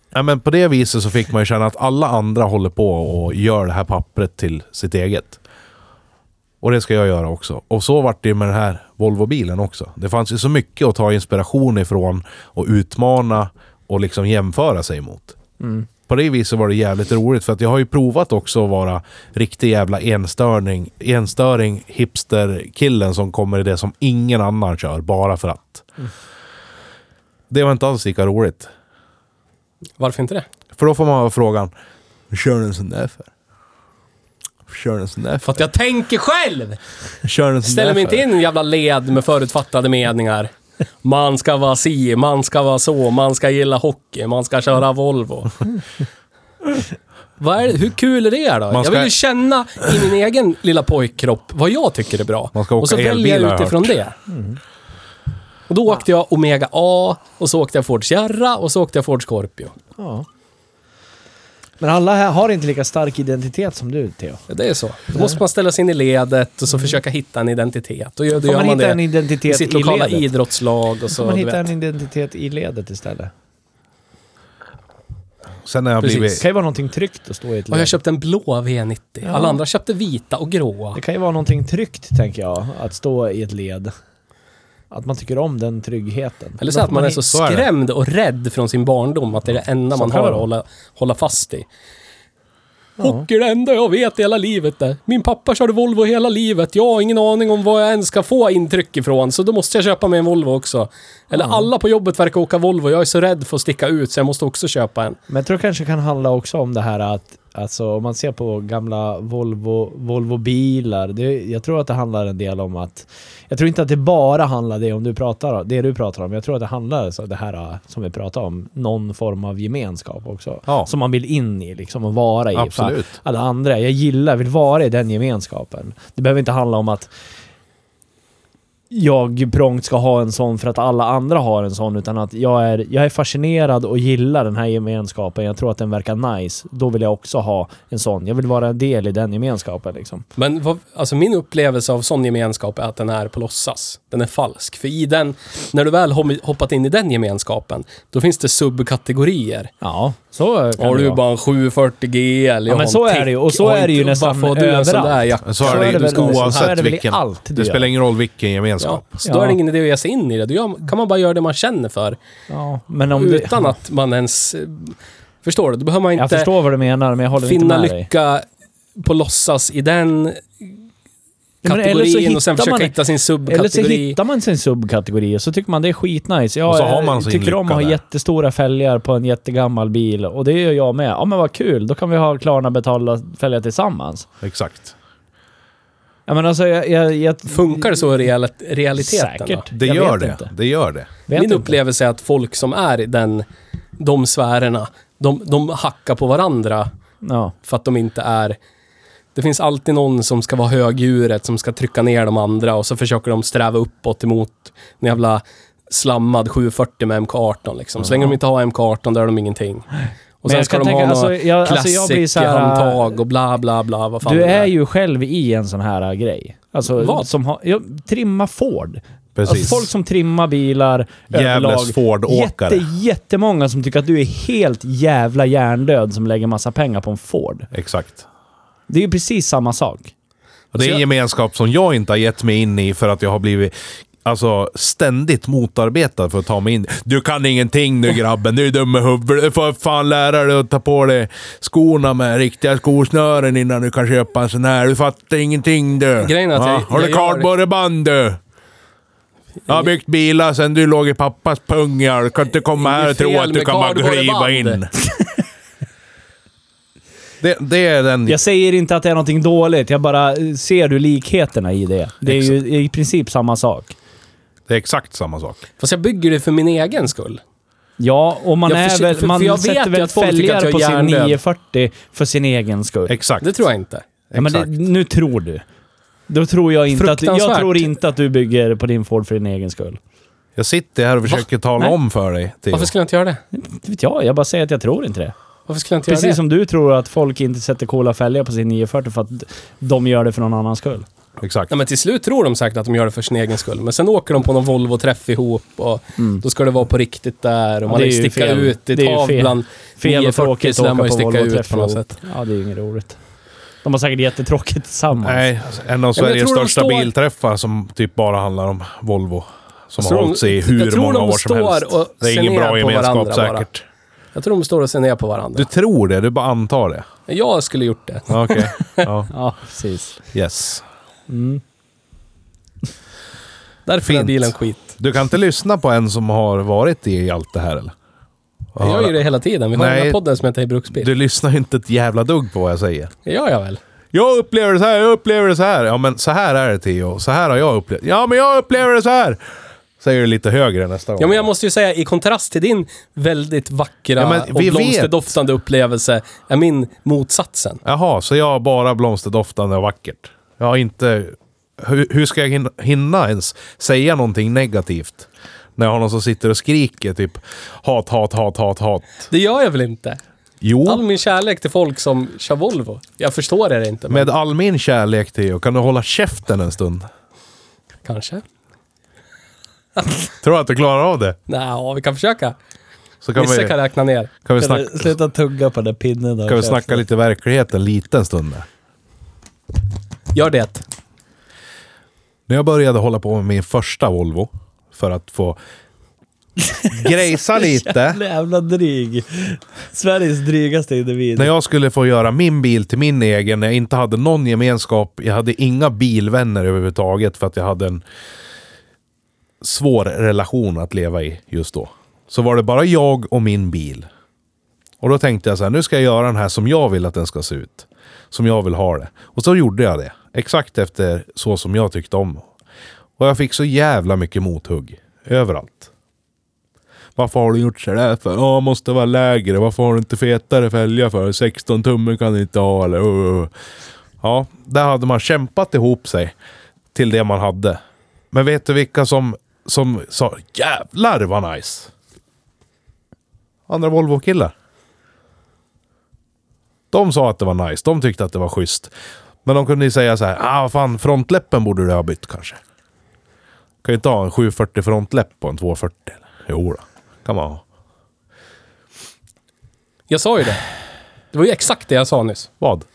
A: nej, men på det viset så fick man ju känna att alla andra håller på och gör det här pappret till sitt eget. Och det ska jag göra också. Och så vart det ju med den här Volvo-bilen också. Det fanns ju så mycket att ta inspiration ifrån och utmana och liksom jämföra sig mot.
B: Mm.
A: På det viset var det jävligt roligt för att jag har ju provat också att vara riktig jävla enstörning, enstöring hipsterkillen som kommer i det som ingen annan kör bara för att. Det var inte alls lika roligt.
C: Varför inte det?
A: För då får man ha frågan, "Vad kör du en sån där för? Vad Kör du en sån där
C: För
A: för?
C: att jag tänker själv!
A: Vad Kör du en sån
C: Ställer
A: där
C: mig inte
A: för?"
C: in i en jävla led med förutfattade meningar. Man ska vara si, man ska vara så, man ska gilla hockey, man ska köra Volvo. Vad är, det- hur kul är det då?
A: Man ska-
C: Jag vill ju känna i min egen lilla pojkkropp vad jag tycker är bra.
A: Man ska åka
C: och så väljer
A: elbil, har
C: jag
A: jag
C: utifrån
A: hört.
C: det. Och då åkte jag Omega A, och så åkte jag Ford Sierra och så åkte jag Ford Scorpio.
B: Ja. Men alla här har inte lika stark identitet som du, Theo.
C: Det är så. Då måste man ställa sig in i ledet och så försöka hitta en identitet. Och gör, då
B: Mm. Får
C: gör
B: man,
C: man
B: hitta en
C: det i
B: identitet i,
C: sitt lokala
B: ledet?
C: idrottslag och så.
B: Får man
C: du
B: hitta
C: vet.
B: en identitet i ledet istället?
A: Sen har jag
C: Precis.
B: Det
A: blivit...
B: kan ju vara någonting tryggt att stå i ett
C: Och
B: led.
C: jag köpte en blå V90.
B: Ja.
C: Alla andra köpte vita och gråa.
B: Det kan ju vara någonting tryggt, tänker jag, att stå i ett led. Att man tycker om den tryggheten.
C: Eller så
B: Då
C: att
B: får
C: man är
B: hi-
C: så
A: så är det.
C: skrämd och rädd från sin barndom att det är det enda
B: Så
C: man
B: kan det
C: har att
B: vara.
C: hålla, hålla fast i. Hockey är det enda jag vet i hela livet. Där. Min pappa körde Volvo hela livet. Jag har ingen aning om vad jag ens ska få intryck ifrån, så då måste jag köpa mig en Volvo också. Eller alla på jobbet verkar åka Volvo. Jag är så rädd för att sticka ut, så jag måste också köpa en.
B: Men jag tror det kanske kan handla också om det här att, alltså om man ser på gamla Volvo, Volvo-bilar, det- jag tror att det handlar en del om att, jag tror inte att det bara handlar det om du pratar, det du pratar om, jag tror att det handlar så det här äh, som vi pratar om, någon form av gemenskap också.
A: Ja.
B: Som man vill in i liksom och vara i. För
A: Absolut.
B: Alla andra, jag gillar, vill vara i den gemenskapen. Det behöver inte handla om att jag prångt ska ha en sån för att alla andra har en sån utan att jag är, jag är fascinerad och gillar den här gemenskapen. Jag tror att den verkar nice. Då vill jag också ha en sån. Jag vill vara en del i den gemenskapen liksom.
C: Men vad, alltså min upplevelse av sån gemenskap är att den är på låtsas. Den är falsk. För i den, när du väl hom- hoppat in i den gemenskapen, då finns det subkategorier.
B: Ja, så kan det
C: Har du
B: vara.
C: bara en 740G eller
B: Ja,
C: jag
B: men
C: har en
B: så är
C: tick,
B: det ju. Och så
C: jag har
B: är det ju
C: en-
B: nästan
C: varför har du en sån där
B: överallt.
C: jacka?
A: Så är det,
B: väl
A: ju,
B: nästan-
A: oavsett
B: så är det väl i
A: vilken.
B: allt du
A: det
B: gör.
A: spelar ingen roll vilken gemenskap.
C: Ja, så då är det
B: Ja.
C: ingen idé att ge sig in i det. Då gör- kan man bara göra det man känner för.
B: Ja, men om det-
C: utan att man ens... eh, Förstår du? Då behöver man
B: Jag
C: inte
B: förstår vad du menar men jag håller inte
C: finna
B: med dig.
C: lycka på låtsas i den
B: men eller så
C: kategorin och
B: hittar
C: sen försöka
B: man-
C: hitta sin subkategori.
B: Eller så hittar man sin subkategori och så tycker man det är skitnice. Jag
A: Och så har man
B: eh,
A: sin
B: tycker om att
A: lycka
B: ha
A: där.
B: jättestora fälgar på en jättegammal bil och det gör jag med. Ja men vad kul, då kan vi ha Klarna betalda fälgar tillsammans.
A: Exakt.
B: Ja men alltså jag... jag, jag
C: Funkar det så i real- realiteten? då?
B: Säkert.
A: Det
B: Jag
A: gör
B: vet
A: det.
B: inte.
A: Det gör det.
B: Vet
C: Min
B: inte.
C: upplevelse är att folk som är i den, de sfärerna, de, de hackar på varandra
B: Ja.
C: för att de inte är... Det finns alltid någon som ska vara högdjuret, som ska trycka ner de andra och så försöker de sträva uppåt emot en jävla slammad 740 med MK18 liksom. Så länge de inte har MK18, då är de ingenting. Och
B: Men
C: sen
B: jag
C: ska
B: kan
C: de ha
B: tänka-
C: några
B: alltså, jag- alltså, jag blir så här-
C: klassikerhandtag och bla bla bla. Vad fan
B: Du
C: det
B: är ju själv i en sån här äh, grej. Alltså,
C: Vad?
B: Som har, ja, trimma Ford.
A: Precis.
B: Alltså, folk som trimmar bilar
A: Jävles Ford-åkare.
B: Jätte, jättemånga som tycker att du är helt jävla hjärndöd som lägger massa pengar på en Ford.
A: Exakt.
B: Det är ju precis samma sak.
A: Och det är en gemenskap som jag inte har gett mig in i för att jag har blivit alltså, ständigt motarbetad för att ta mig in. Du kan ingenting nu grabben, du är dum i huvudet. Du får fan lära dig att ta på dig skorna med riktiga skosnören innan du kan köpa en sån här. Du fattar ingenting du.
C: Grejen är att jag-
A: har du
C: jag gör-
A: kardborreband du? Jag har byggt bilar sen du låg i pappas pungar. Du kan inte komma
C: Det är
A: här och tro
C: fel
A: att du
C: med
A: kan bara kliva
C: kardborreband. [laughs]
A: in. det, det är den...
B: Jag säger inte att det är någonting dåligt, jag bara eh, ser du likheterna i det. Det är ju i princip samma sak.
A: Det är exakt samma sak.
C: Fast jag bygger det för min egen skull.
B: Ja, och man,
C: Jag
B: är
C: försö-
B: väl,
C: för-
B: man
C: för jag vet
B: sätter
C: ju
B: väl
C: att folk tycker att
B: följare
C: jag är
B: på sin
C: hjärndöd.
B: 940 för sin egen skull.
A: Exakt.
C: Det tror jag inte.
B: Ja, men det,
A: Exakt.
B: nu tror du. Då tror jag inte att, jag
C: Fruktansvärt.
B: tror inte att du bygger på din Ford för din egen skull.
A: Jag sitter här och försöker tala
B: Nej.
A: om för dig, Theo.
C: Varför skulle jag inte göra det?
B: Inte vet jag, jag bara säger att jag tror inte det.
C: Varför skulle jag inte göra
B: Precis
C: det?
B: som du tror att folk inte sätter coola fälgar på sin 940 för att de gör det för någon annans skull.
A: Exakt.
C: Nej, men till slut tror de säkert att de gör det för sin egen skull. Men sen åker de på någon Volvo-träff ihop och då ska det vara på riktigt där. Och man
B: det är
C: vill
B: ju
C: sticka
B: fel.
C: ut i
B: Det är ju fel.
C: tavlan.
B: Fel och
C: 940
B: tråkigt
C: så
B: att
C: lär
B: åka
C: man ju
B: på
C: sticka
B: Volvo
C: ut
B: träff
C: på något
B: ihop.
C: sätt.
B: Ja, det är ju inget roligt. De har säkert jättetråkigt tillsammans.
A: Nej, alltså, en av
C: Ja, men jag
A: Sveriges
C: tror de
A: största
C: står-
A: bilträffar som typ bara handlar om Volvo. Som har
C: Jag tror
A: hållit sig i
C: de- jag
A: hur
C: tror
A: många
C: de
A: år som
C: står
A: helst.
C: och
A: Det är
C: ser
A: ingen
C: ner
A: bra
C: på
A: gemenskap
C: varandra bara.
A: säkert.
C: Jag tror de står och ser ner på varandra.
A: Du tror det, du bara antar det.
C: Jag skulle gjort det.
A: Ja, Okej.
C: [laughs]
A: Ja.
B: Ja, precis.
A: Yes.
B: Mm.
C: Därför är
A: Fint.
C: bilen skit.
A: Du kan inte lyssna på en som har varit i allt det här eller?
C: Jag gör ju det hela tiden. Vi har
A: Nej.
C: den här podden som heter Hej Bruksbil.
A: Du lyssnar ju inte ett jävla dugg på vad jag säger.
C: Det gör jag väl?
A: Jag upplever det så här, jag upplever det så här. Ja men så här är det Theo. Så här har jag upplevt Ja men jag upplever det så här. Säger du lite högre nästa gång.
C: Ja, men jag måste ju säga, i kontrast till din väldigt vackra
A: Ja, men
C: och
A: vi vet.
C: blomsterdoftande upplevelse, är min motsatsen.
A: Jaha, så jag har bara blomsterdoftande och vackert. Jag har inte... Hur, hur ska jag hin- hinna ens säga någonting negativt? När jag har någon som sitter och skriker typ hat, hat, hat, hat, hat.
C: Det gör jag väl inte? All
A: Jo,
C: min kärlek till folk som kör Volvo. Jag förstår er inte, men
A: med all min kärlek till er, kan du hålla käften en stund?
C: kanske.
A: Tror du att du klarar av det?
C: Nej, ja, vi kan försöka.
A: Så kan
C: Vissa
A: vi,
C: kan räkna ner.
A: kan vi, snacka,
B: sluta tugga på den pinnen
A: kan vi snacka lite verklighet en liten stund. där?
C: Gör det.
A: När jag började hålla på med min första Volvo, för att få grejsa lite.
B: Jävla dryg. Sveriges drygaste individ.
A: När jag skulle få göra min bil till min egen, när jag inte hade någon gemenskap, jag hade inga bilvänner överhuvudtaget för att jag hade en svår relation att leva i just då. Så var det bara jag och min bil. Och då tänkte jag så här, nu ska jag göra den här som jag vill att den ska se ut. Som jag vill ha det. Och så gjorde jag det. Exakt efter så som jag tyckte om. Och jag fick så jävla mycket mothugg. Överallt. Varför har du gjort sådär för? Ja, måste vara lägre. Varför har du inte fetare fälgar för? 16 tummen kan du inte ha eller... Uh, uh. Ja, där hade man kämpat ihop sig till det man hade. Men vet du vilka som, som sa jävlar vad nice? Andra Volvo-killar. De sa att det var nice. De tyckte att det var schysst. Men de kunde ju säga så här, ah fan frontläppen borde du ha bytt kanske. Kan ju inte ha en 740 frontläpp på en 240. eller? Jo då, kan man ha.
C: Jag sa ju det. Det var ju exakt det jag sa nyss.
A: Vad?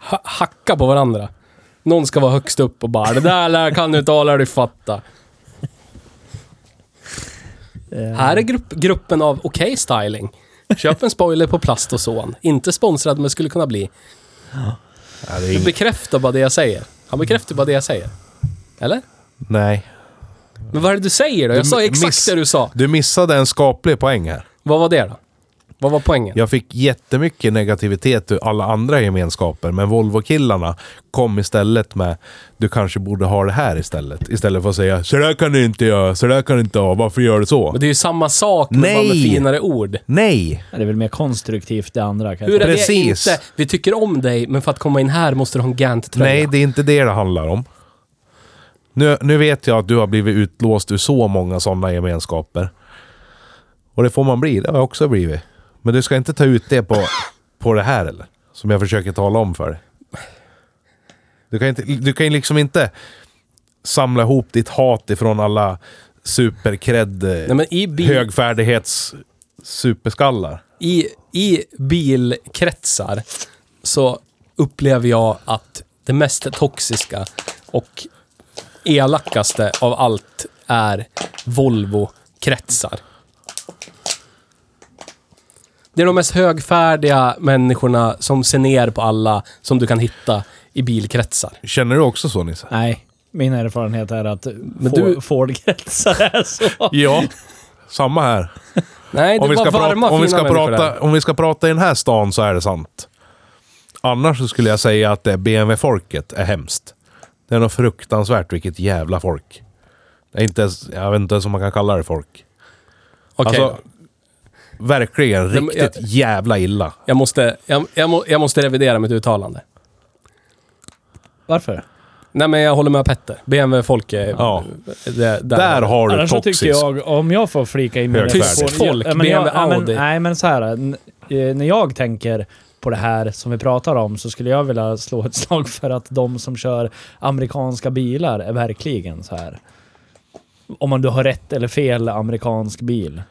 C: Ha hacka på varandra. Någon ska vara högst upp och bara, det där lär- kan du inte, ja, lär du fatta. Här är grupp, gruppen av okej styling. Köp en spoiler på plast och son. Inte sponsrad, men skulle kunna bli.
A: Nej, det är
C: Du
A: inget.
C: bekräftar bara det jag säger. Han bekräftar bara det jag säger. Eller?
A: Nej.
C: Men vad är det du säger då? Jag sa exakt
A: miss-
C: det du sa.
A: Du missade en skaplig poäng här.
C: Vad var det då? Vad var poängen?
A: Jag fick jättemycket negativitet ur alla andra gemenskaper, men Volvo-killarna kom istället med du kanske borde ha det här istället. Istället för att säga så där kan du inte göra, så där kan du inte ha, varför gör du så?
C: Men det är ju samma sak, men bara med
A: Nej!
C: finare ord.
A: Nej!
B: Ja, Det är väl mer konstruktivt det andra kanske.
C: Hur är
A: Precis.
C: det inte? Vi tycker om dig, men för att komma in här måste du ha en Gant-tröja.
A: Nej, det är inte det det handlar om. Nu, nu vet jag att du har blivit utlåst ur så många sådana gemenskaper. Och det får man bli, det har jag också blivit. Men du ska inte ta ut det på, på det här eller? Som jag försöker tala om för dig. Du kan, inte, du kan ju liksom inte samla ihop ditt hat ifrån alla superkredd
C: Nej, men i, bil,
A: högfärdighets superskallar.
C: i, I bilkretsar så upplever jag att det mest toxiska och elakaste av allt är Volvo-kretsar. Det är de mest högfärdiga människorna som ser ner på alla som du kan hitta i bilkretsar.
A: Känner du också så Nisse?
B: Nej, min erfarenhet är att Men
C: du-
B: Ford-kretsar är så.
A: Ja. Samma här.
C: Nej, det
A: om vi, ska
C: var varma,
A: prata, om, vi
C: fina
A: ska
C: människor där.
A: prata, om vi ska prata i den här stan så är det sant. Annars så skulle jag säga att det BMW-folket är hemskt. Det är något fruktansvärt vilket jävla folk. Det är inte ens, jag vet inte ens om man kan kalla det folk.
C: Okej
A: alltså,
C: då.
A: verkligen
C: Nej, men
A: riktigt jävla illa.
C: jag, måste, jag, jag, må, jag måste revidera mitt uttalande.
B: Varför?
C: Nej, men jag håller med Petter. BMW-folk är...
A: Ja.
C: Det, där.
A: Där har du
B: Annars så
A: toxisk.
B: tycker jag, om jag får flika in min...
A: Högfärdigt.
C: Tyst folk,
B: Ja, men jag,
C: BMW,
B: ja, men,
C: Audi.
B: Nej, men så här. n- eh, När jag tänker på det här som vi pratar om så skulle jag vilja slå ett slag för att de som kör amerikanska bilar är verkligen så här. Om man då har rätt eller fel amerikansk bil.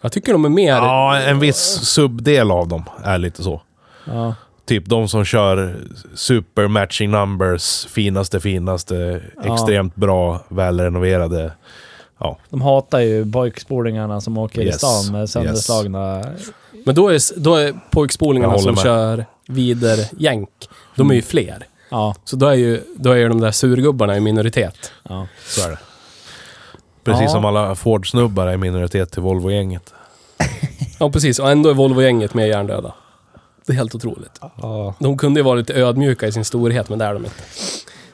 C: Jag tycker de är mer...
A: Ja, en viss subdel av dem är lite så.
B: Ja.
A: Typ de som kör super matching numbers, finaste finaste,
B: Ja.
A: extremt bra, välrenoverade. Ja.
B: De hatar ju pojkspolingarna som åker i
A: Yes,
B: stan med sönderslagna...
C: Men då är, s- då är pojkspolingarna
A: Jag
C: som
A: håller med. Mm.
C: kör vider jänk. De är ju fler.
B: Ja,
C: Så då är ju, då är ju de där surgubbarna i minoritet.
B: ja.
A: Så är det. Precis
B: Ja.
A: som alla Ford-snubbar är minoritet till Volvo-gänget.
C: Ja, precis. Och ändå är Volvo-gänget mer hjärndöda. Det är helt otroligt.
B: ja.
C: De kunde ju vara lite ödmjuka i sin storhet, men det är de inte.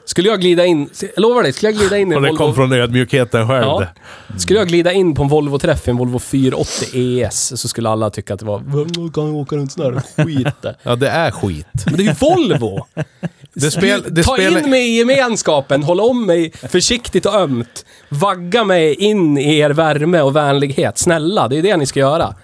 C: Skulle jag glida in... Jag lovar dig, skulle jag glida in i
A: Och
C: en
A: det kom
C: Volvo...
A: från ödmjukheten själv.
C: Ja.
A: det.
C: Skulle jag glida in på en Volvo-träff i en Volvo 480 ES så skulle alla tycka att det var... "Vem kan åka runt sån här skit?
A: ja, det är skit.
C: Men det är ju Volvo!
A: Det spel, det
C: Ta
A: spelar-
C: in mig i gemenskapen, håll om mig försiktigt och ömt. Vagga mig in i er värme och vänlighet. Snälla, det är det ni ska göra.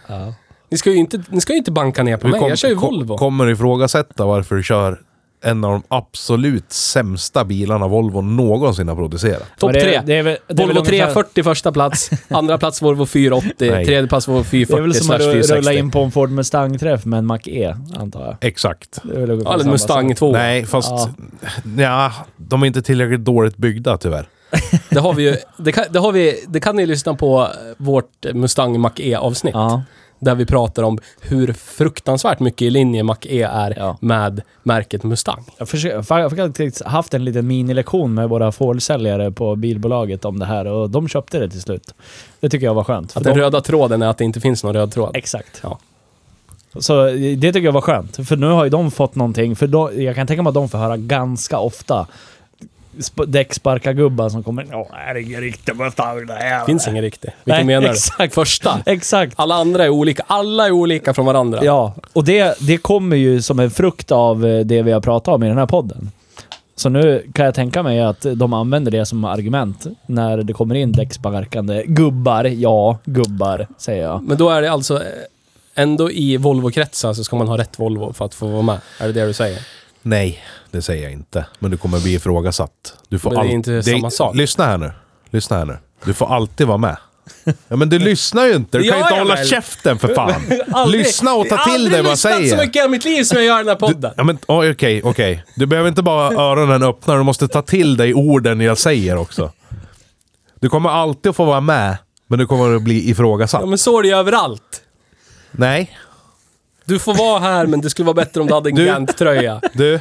C: Ni ska ju inte, ni ska ju inte banka ner på
A: Du
C: mig,
A: kom-
C: jag kör ju
A: kom-
C: Volvo.
A: kommer ifrågasätta varför du kör en av de absolut sämsta bilarna Volvo någonsin har producerat.
C: Topp
B: Men det är-
C: tre.
B: det är väl- det är väl
C: Volvo
B: ungefär-
C: 340 första plats, andra plats Volvo 480,
A: Nej.
C: tredje plats Volvo
B: Det är väl
C: 440
B: som att
C: slash
B: ru- rulla
C: 460.
B: in på en Ford Mustang-träff med en Mac-E, antar jag.
A: Exakt.
B: Det är väl ungefär
C: Ja, eller
B: samma
C: Mustang
B: sak.
C: 2.
A: Nej, fast...
B: Ja.
A: Nja, de är inte tillräckligt dåligt byggda tyvärr.
C: Det har vi ju, det kan, det har vi, det kan ni lyssna på eh, vårt Mustang Mach-E avsnitt.
B: Ja.
C: Där vi pratar om hur fruktansvärt mycket i linje Mach-E är
B: Ja.
C: med märket Mustang.
B: Jag försöker- fa- jag har faktiskt haft en liten minilektion med våra Ford-säljare på bilbolaget om det här och de köpte det till slut. Det tycker jag var skönt. för
C: Att den
B: de,
C: röda tråden är att det inte finns någon röd tråd.
B: exakt.
C: Ja.
B: Så det tycker jag var skönt, för nu har ju de fått någonting. För då, jag kan tänka mig att de får höra ganska ofta sp- däcksparkargubbar som kommer Ja, är det ingen riktig Mustang det här?"
C: Finns ingen riktig. Vilken
B: Nej,
C: menar du?
B: exakt.
C: Första.
B: Exakt.
C: Alla andra är olika. Alla är olika från varandra.
B: Ja, och det, det kommer ju som en frukt av eh, det vi har pratat om i den här podden. Så nu kan jag tänka mig att de använder det som argument när det kommer in däcksparkande gubbar. Ja, gubbar, säger jag.
C: Men då är det alltså eh, ändå i Volvo-kretsar så ska man ha rätt Volvo för att få vara med. Är det det du säger?
A: Nej, det säger jag inte. Men du kommer bli ifrågasatt. Du får
C: Men det är
A: all-
C: inte samma sak.
A: Lyssna här nu. Lyssna här nu. Du får alltid vara med. Ja men du lyssnar ju inte. Du
C: Det
A: kan ju
C: gör
A: inte
C: jag
A: hålla
C: väl.
A: käften för fan.
C: [laughs] Aldrig-
A: Lyssna och
C: jag
A: ta
C: har
A: till
C: aldrig
A: dig vad jag
C: lyssnat så
A: säger.
C: mycket i mitt liv som jag gör i den här podden.
A: Ja men oj, okej, okej. Du behöver inte bara ha öronen öppna. Du måste ta till dig orden jag säger också. Du kommer alltid att få vara med. Men du kommer att bli ifrågasatt.
C: Ja, men så är det ju överallt.
A: Nej.
C: Du får vara här, men det skulle vara bättre om du hade en
A: Du-
C: Gant-tröja.
A: Du,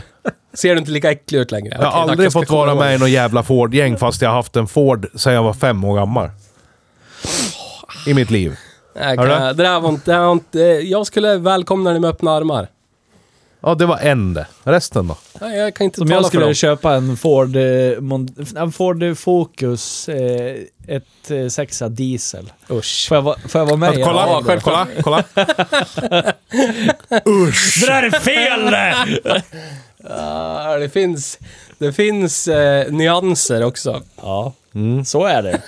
C: Ser du inte lika äcklig ut längre?
A: jag har aldrig fått vara med i något jävla Ford-gäng fast jag har haft en Ford sedan jag var fem år gammal. I mitt liv. Hör
C: Nej, kan
A: du?
C: jag- det där var inte, det där var inte, jag skulle välkomna dig med öppna armar.
A: Ja, det var en det. Resten då?
C: Nej, jag kan inte
B: Som
C: tala
B: jag
C: för
B: skulle
C: dem.
B: köpa en Ford, eh, Mond- en Ford Focus eh, ett eh, sexa diesel.
C: Usch.
B: Får jag, va- får jag vara med? i den här?
A: [laughs] kolla, kolla, kolla, kolla.
B: Det där är fel det!
C: Ah, det finns, det finns eh, nyanser också.
B: Ja,
A: Mm.
B: så är det.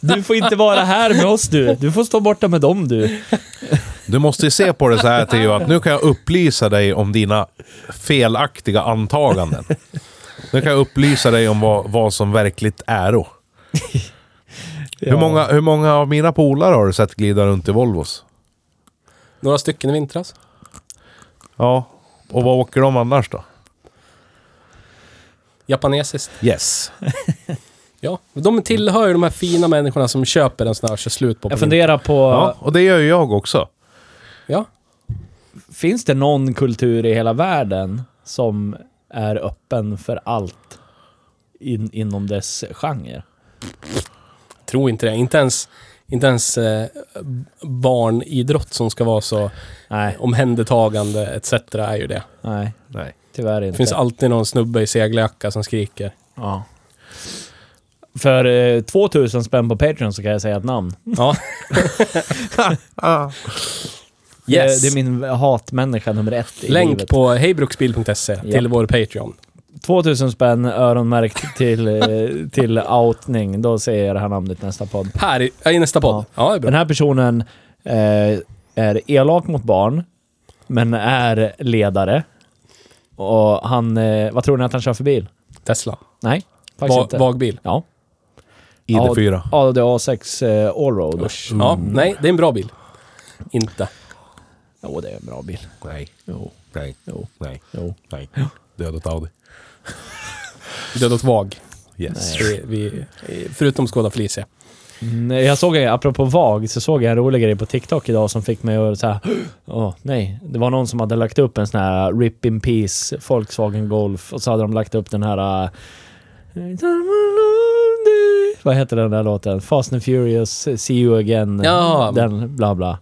B: Du får inte vara här med oss du. Du får stå borta med dem du.
A: Du måste ju se på det så här Theo, att nu kan jag upplysa dig om dina felaktiga antaganden. Nu kan jag upplysa dig om vad, vad som verkligt äro. Hur, många, hur många av mina polare har du sett glida runt i Volvos?
C: Några stycken i vintras.
A: Ja, och vad åker de annars då?
C: Japanesiskt.
A: Yes.
C: Ja, de tillhör ju de här fina människorna som köper en sån här och kör slut på.
B: Jag
C: på
B: funderar på,
A: Ja, och det gör ju jag också.
C: vintern. Ja.
B: finns det någon kultur i hela världen som är öppen för allt in, inom dess genre?
C: Tror inte det. Inte ens, inte ens eh, barnidrott som ska vara så
B: Nej,
C: omhändertagande etc. är ju det.
B: nej,
A: Nej.
B: tyvärr
C: Det
B: inte.
C: finns alltid någon snubbe i segeljacka som skriker.
B: Ja. För eh, 2000 spänn på Patreon så kan jag säga ett namn.
C: Ja.
B: Det, det är min hatmänniska nummer ett i
C: Eh, Länk
B: livet.
C: på hejbruksbil.se till
B: Ja.
C: vår Patreon.
B: 2000 spänn öronmärkt till, eh, till outning. Då säger jag det här namnet i nästa podd.
C: Här i, ja, i nästa podd. Ja, det är bra.
B: Den här personen eh, är elak mot barn, men är ledare. Och han... Eh, vad tror ni att han kör för bil?
C: Tesla.
B: Nej, faktiskt
C: Va,
B: inte.
C: vagbil.
B: Ja.
A: ID4.
B: Audi A6 eh, Allroad.
C: Usch. Ja,
B: Mm.
C: nej, det är en bra bil. Inte.
B: Jo, det är en bra bil.
A: Nej.
B: Jo,
A: Nej.
B: jo,
A: Nej.
B: jo.
A: Nej. Dödat Audi.
C: Död åt vag.
A: Yes.
C: Vi, vi, förutom Skoda Felicia.
B: Nej, Jag såg, en- apropå VAG, så såg jag en rolig grej på TikTok idag som fick mig att säga [gasps] Åh, nej. Det var någon som hade lagt upp en sån här uh, RIP in Peace Volkswagen Golf och så hade de lagt upp den här... eh, Vad heter den där låten? Fast and Furious, See You Again.
C: Ja.
B: Den, bla bla.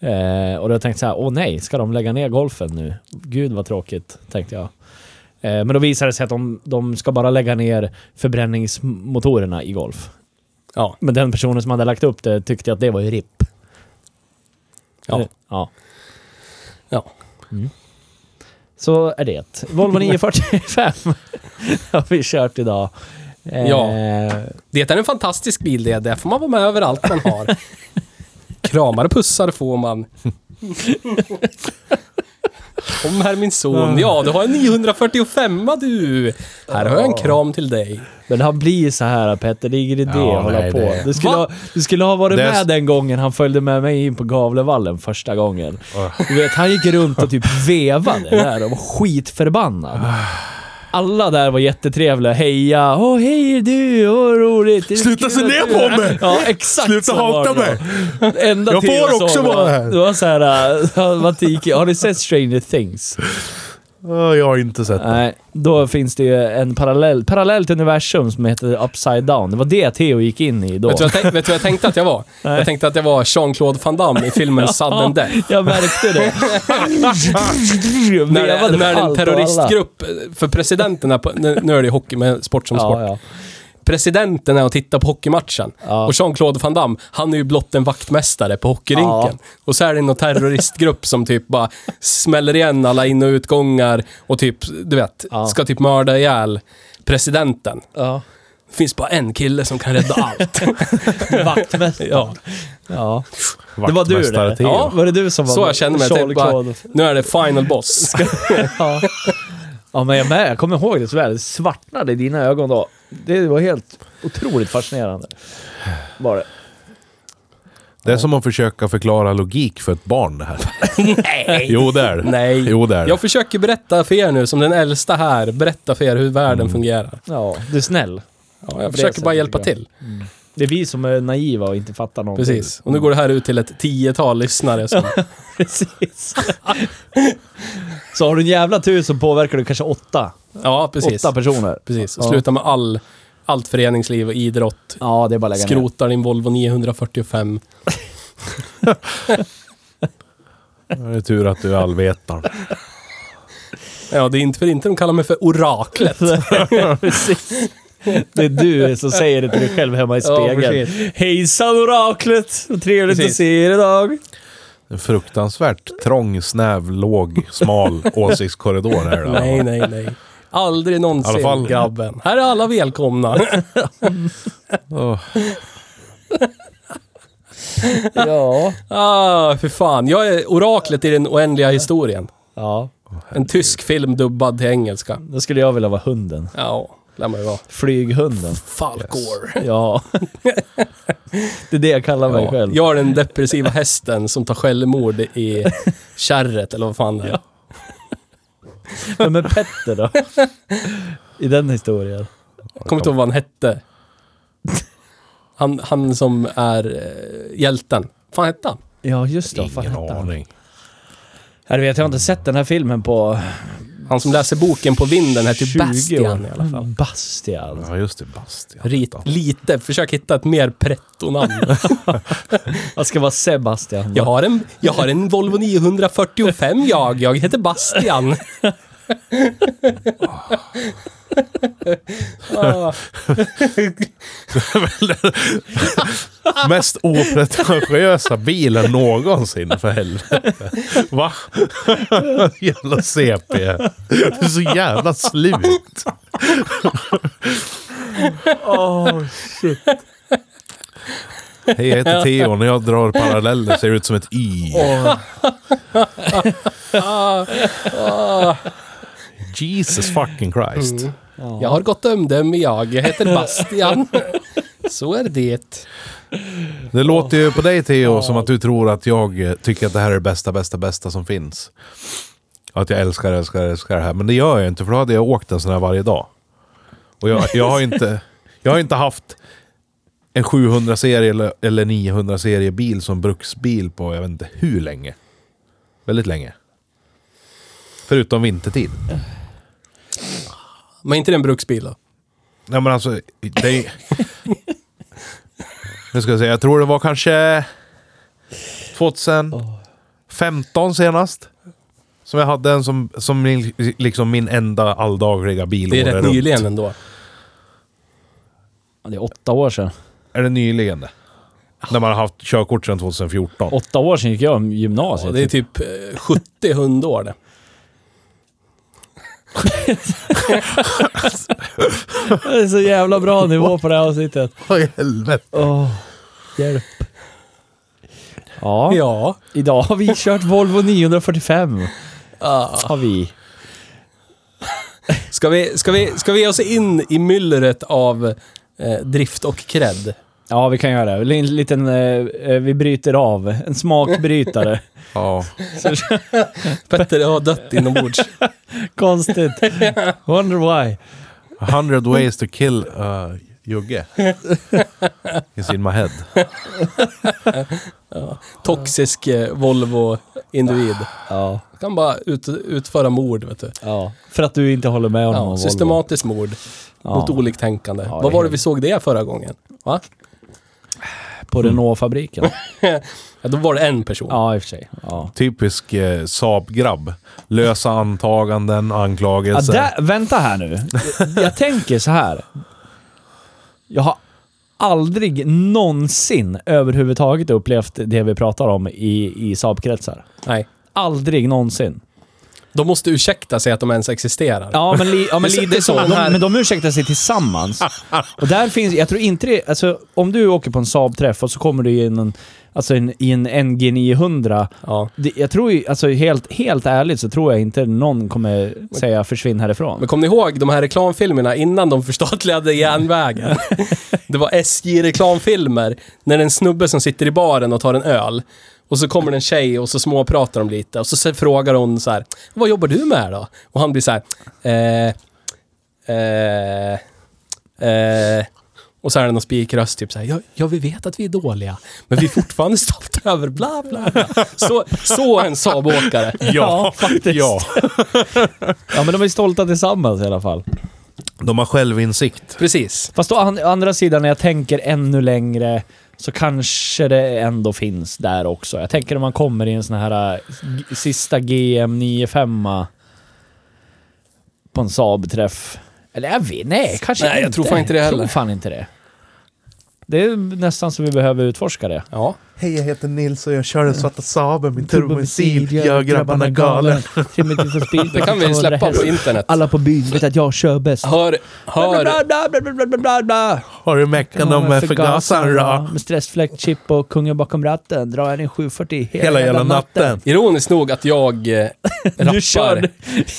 B: Eh, och då tänkte jag så här, åh nej, ska de lägga ner golfen nu? Gud vad tråkigt, tänkte jag. Eh, men då visade det sig att de, de ska bara lägga ner förbränningsmotorerna i golf.
C: Ja.
B: Men den personen som hade lagt upp det tyckte att det var ju RIP.
C: Ja.
B: Eh, ja. Mm.
C: ja.
B: Så är det.
C: [laughs]
B: Volvo 945 [laughs] har vi kört idag. Eh,
C: Ja. Det är en fantastisk bil det. Där får man vara med överallt man har. Kramar och pussar får man. Kom här min son. Ja, du har en 945 du. Här har jag en kram till dig.
B: Men han blir så här Petter, det är ingen idé
A: Ja,
B: att hålla
A: nej,
B: på.
A: det-
B: Du, skulle
C: Va?
B: ha, du skulle ha varit
A: Det är
B: med
A: s-
B: den gången han följde med mig in på Gavlevallen första gången.
A: Ah.
B: Du vet, han gick runt och typ
A: [laughs]
B: vevade där och var skitförbannad. Alla där var jättetrevliga. Heja! Åh, hej du! Åh, vad roligt! Det är
A: Sluta
B: kul
A: se
B: att
A: ner
B: du
A: på
B: är här."
A: mig!
B: Ja, exakt
A: Sluta
B: så
A: hata
B: var det då.
A: mig!
B: Enda
A: Jag
B: till
A: får
B: sa
A: också
B: var-
A: vara här.
B: Det var [laughs] såhär, har ni sett Stranger Things?
A: Åh, Jag har inte sett det.
B: Nej, då finns det ju en parallell, parallellt universum som heter Upside Down. Det var det Theo gick in i då.
C: Vet du, vad jag tänk, vet du vad jag tänkte att jag var? Jag tänkte att jag var Jean-Claude Van Damme i filmen Sudden Death.
B: Jag märkte det.
C: [laughs] När,
B: Vevade
C: när
B: allt
C: en
B: och
C: terroristgrupp, för presidenten är på, nu nu är det hockey med sport som sport.
B: alla. Ja, ja.
C: Presidenten är och tittar på hockeymatchen.
B: Ja.
C: Och Jean-Claude Van Damme, han är ju blott en vaktmästare på hockeyrinken.
B: Ja.
C: Och så är det någon terroristgrupp som typ bara smäller igen alla in och utgångar och typ, du vet,
B: Ja.
C: ska typ mörda ihjäl presidenten.
B: ja.
C: Det finns bara en kille som kan
B: [laughs]
C: rädda allt.
B: Vaktmästare.
C: ja.
B: Ja. Det var du
A: Vaktmästare
B: det.
A: Theo.
B: Ja, var det du som var
C: Så jag känner mig. Jag tänkte bara,
B: Charles-Claude?
C: nu är det final boss.
B: Ja. ja, men jag med. Jag kommer ihåg det så väl. Det svartnade i dina ögon då. Det var helt otroligt fascinerande. Var det.
A: Det är som att försöka förklara logik för ett barn det här.
C: Nej.
A: [laughs] Jo, det är det.
C: Nej.
A: Jo, det är det.
C: Jag försöker berätta för er nu, som den äldsta här, berätta för er hur världen
A: Mm.
C: fungerar.
B: Ja, du är snäll.
C: Ja,
B: det
C: jag försöker
B: sättet
C: bara
B: är
C: hjälpa
B: bra.
C: till.
B: Det är vi som är naiva och inte fattar någonting.
C: Precis. Och nu går det här ut till ett tiotal
B: [laughs]
C: lyssnare. Som,
B: Precis. Så har du en jävla tur så påverkar du kanske åtta.
C: ja, precis.
B: Åtta personer.
C: Precis. Och
B: Ja.
C: Sluta med all, allt föreningsliv och idrott.
B: Ja, det är bara att lägga ner.
C: Skrotar din Volvo 945.
A: Det är tur att du är allvetaren.
C: Ja, det är inte för inte de kallar mig för oraklet.
B: [laughs] Precis. Det är du som säger det till dig själv hemma i
C: Ja,
B: spegeln.
C: precis.
B: Hejsan oraklet! Vad trevligt
C: Precis.
B: att se er idag.
A: En fruktansvärt trång, snäv, låg, smal åsiktskorridor här. Då.
C: nej, nej, nej. Aldrig någonsin,
A: I alla fall.
C: grabben. Här är alla välkomna. [laughs]
A: Åh,
B: Ja.
C: ah, för fan. Jag är oraklet i den oändliga historien.
B: Ja.
C: En tysk film dubbad till engelska.
B: Då skulle jag vilja vara hunden.
C: Ja, lär man ju vara.
B: Flyghunden.
C: Falkor.
B: Ja. Det är det jag kallar mig
C: Ja,
B: själv.
C: jag är den depressiva hästen som tar självmord i kärret, eller vad fan det är.
B: Men med Petter då? I den historien.
C: Kommer inte ihåg vad han [laughs] hette. Han, han som är eh, hjälten. fan hette han?
B: Ja, just det. Fan,
A: ingen
B: hette han?
A: aning.
B: Jag vet, jag har inte sett den här filmen på
C: Han Mm. som läser boken på vinden heter ju
B: 20
C: Bastian
B: år.
C: i alla fall.
B: Bastian.
A: Ja, just det. Bastian.
C: Rit, lite, försök hitta ett mer [laughs] pretto-namn.
B: Jag ska vara Sebastian.
C: Jag har, en, jag har en Volvo 945 jag, jag heter Bastian. Ah,
A: [laughs] Mest opretentiösa bilen någonsin, för helvete. Va? [laughs] jävla CP. Du är så jävla slut.
B: Åh, shit.
A: Hej, jag heter Theo. När jag drar paralleller ser det ut som ett Y. Jesus fucking Christ.
C: jag har gott omdöme jag, jag [laughs] heter Bastian. Så är det.
A: Det låter ju på dig Theo som att du tror att jag eh, tycker att det här är det bästa, bästa, bästa som finns. Att jag älskar, älskar, älskar det här. Men det gör jag inte för då hade jag åkt en sån här varje dag. Och jag, jag, har, inte, jag har inte haft en 700-serie eller, eller 900-serie bil som bruksbil på jag vet inte hur länge. Väldigt länge. Förutom vintertid.
C: Men inte den bruksbil då?
A: Nej men alltså, det är... Nu ska jag säga, jag tror det var kanske 2015 senast. Som jag hade en som, som min- liksom min enda alldagliga bil.
C: Det är
A: året
C: rätt
A: runt.
C: nyligen ändå.
B: Ja, Det är åtta år sedan.
A: Är det nyligen det? När man har haft körkort sedan 2014.
B: Åtta år sedan gick jag i
C: Ja,
B: gymnasiet.
C: det är typ eh, 70 hundår det. typ-
B: Det är så jävla bra nivå på det här avsnittet.
A: Vad i helvete?
B: Åh, hjälp. Ja,
C: Ja.
B: idag har vi kört Volvo 945.
C: Ah.
B: Har vi.
C: Ska vi, ska, vi, ska vi ge oss in i myllret av eh, drift och cred?
B: Ja, vi kan göra det. En liten... eh, eh, vi bryter av. En
C: [laughs]
B: smakbrytare.
A: Ja.
C: Petter har
B: [laughs]
C: dött inombords.
B: Konstigt. Wonder why.
A: 100 ways to kill uh, Jugge. Is in my head.
C: Toxisk eh, Volvo-individ.
B: Ja,
C: Kan bara ut, utföra mord, vet du.
B: ja. För att du inte håller med om
C: Ja,
B: Volvo.
C: systematiskt mord
B: Ja,
C: mot oliktänkande.
B: Ja, det
C: Vad var
B: är-
C: det vi såg det förra gången? Va?
B: På Renault-fabriken.
C: Ja, då var det en person.
B: Ja, i och för sig. Ja.
A: Typisk eh, Saab-grabb. Lösa antaganden,
B: Ja,
A: anklagelser.
B: där, vänta här nu. Jag tänker så här. Jag har aldrig någonsin överhuvudtaget upplevt det vi pratar om i, i Saab-kretsar.
C: Nej.
B: Aldrig någonsin.
C: De måste ursäkta sig att de ens existerar.
B: Ja, men, li, ja, men
C: Det är så-
B: lite så.
C: det är så här-
B: De, men de ursäktar sig [laughs] tillsammans. Och där finns, jag tror inte det, alltså om du åker på en Saab-träff och så kommer du in en, alltså en, i en NG 900.
C: Ja.
B: Det, jag tror ju, alltså helt, helt ärligt så tror jag inte någon kommer säga försvinn härifrån.
C: Men kom ni ihåg de här reklamfilmerna innan de förstatligade järnvägen? Det var SJ-reklamfilmer. När det är en snubbe som sitter i baren och tar en öl. Och så kommer det en tjej och så småpratar de lite. Och så se- frågar hon så här, vad jobbar du med då? Och han blir så här, eh, eh, eh. Och så är det någon spikröst typ så här, ja, ja vi vet att vi är dåliga, men vi är fortfarande stolta [laughs] över bla bla bla. Så, så en Saab-åkare.
B: [laughs]
A: [laughs] Ja,
B: faktiskt.
A: Ja.
B: Ja, men de är stolta tillsammans i alla fall.
A: De har självinsikt.
C: Precis.
B: Fast å an- andra sidan, när jag tänker ännu längre, Så kanske det ändå finns där också. Jag tänker när man kommer i en sån här eh, g- sista GM 95 på en Saab-träff. Eller jag vet nej, kanske
C: Nej,
B: inte.
C: jag tror fan inte det
B: Jag tror
C: heller.
B: fan inte det. Det är nästan så vi behöver utforska det.
C: Ja.
D: Hej, jag heter Nils och jag kör den svarta Saaben, min turbomissil. Gör grabbarna galen.
B: Trimmet för speed.
C: Det kan vi släppa på internet.
B: Alla på byn vet att jag kör bäst.
C: Hör, hör,
D: Har du meckan om med förgasaren då?
B: Med stressfläkt, chip och kungen bakom ratten. Drar jag en 740 hela,
D: Hela jävla natten.
C: ironiskt nog att
B: [laughs]
C: jag eh,
B: Du
C: rappar.
B: kör...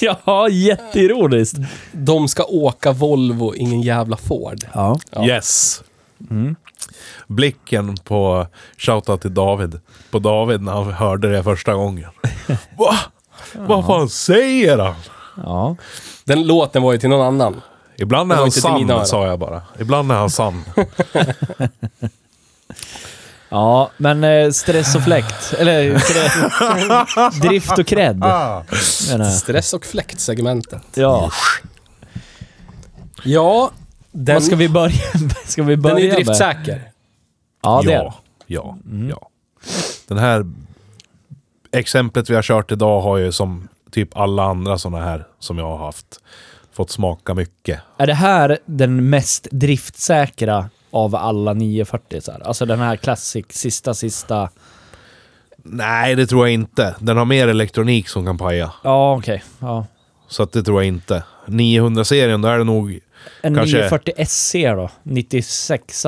B: [laughs] Ja, jätteironiskt.
C: De ska åka Volvo, ingen jävla Ford.
B: Ja.
C: Ja.
A: Yes! Blicken på shoutout till David. På David när han hörde det första gången. Va? Vad fan säger han?
B: ja.
C: Den låten var ju till någon annan.
A: Ibland
C: Det
A: är
C: var
A: han
C: inte till mina öron.
A: sann, sa jag bara. Ibland är han sann.
B: Ja, men eh, stress och fläkt.
C: [laughs]
B: Eller stress- drift och cred. menar jag.
C: Stress och fläktsegmentet.
B: Ja.
C: Ja, den,
B: Vad ska vi börja [laughs] med? Ska vi börja
C: den är ju
B: med?
C: driftsäker.
B: Ja, det är den.
A: ja, ja, ja. Den här exemplet vi har kört idag har ju som typ alla andra sådana här som jag har haft fått smaka mycket.
B: Är det här den mest driftsäkra av alla 940 -sar? Alltså den här classic, sista, sista...
A: Nej, det tror jag inte. Den har mer elektronik som kan paja.
B: Ja, okej. Ja.
A: Så att det tror jag inte. 900-serien, då är det nog...
B: En
A: Kanske-
B: 940 SC då, 96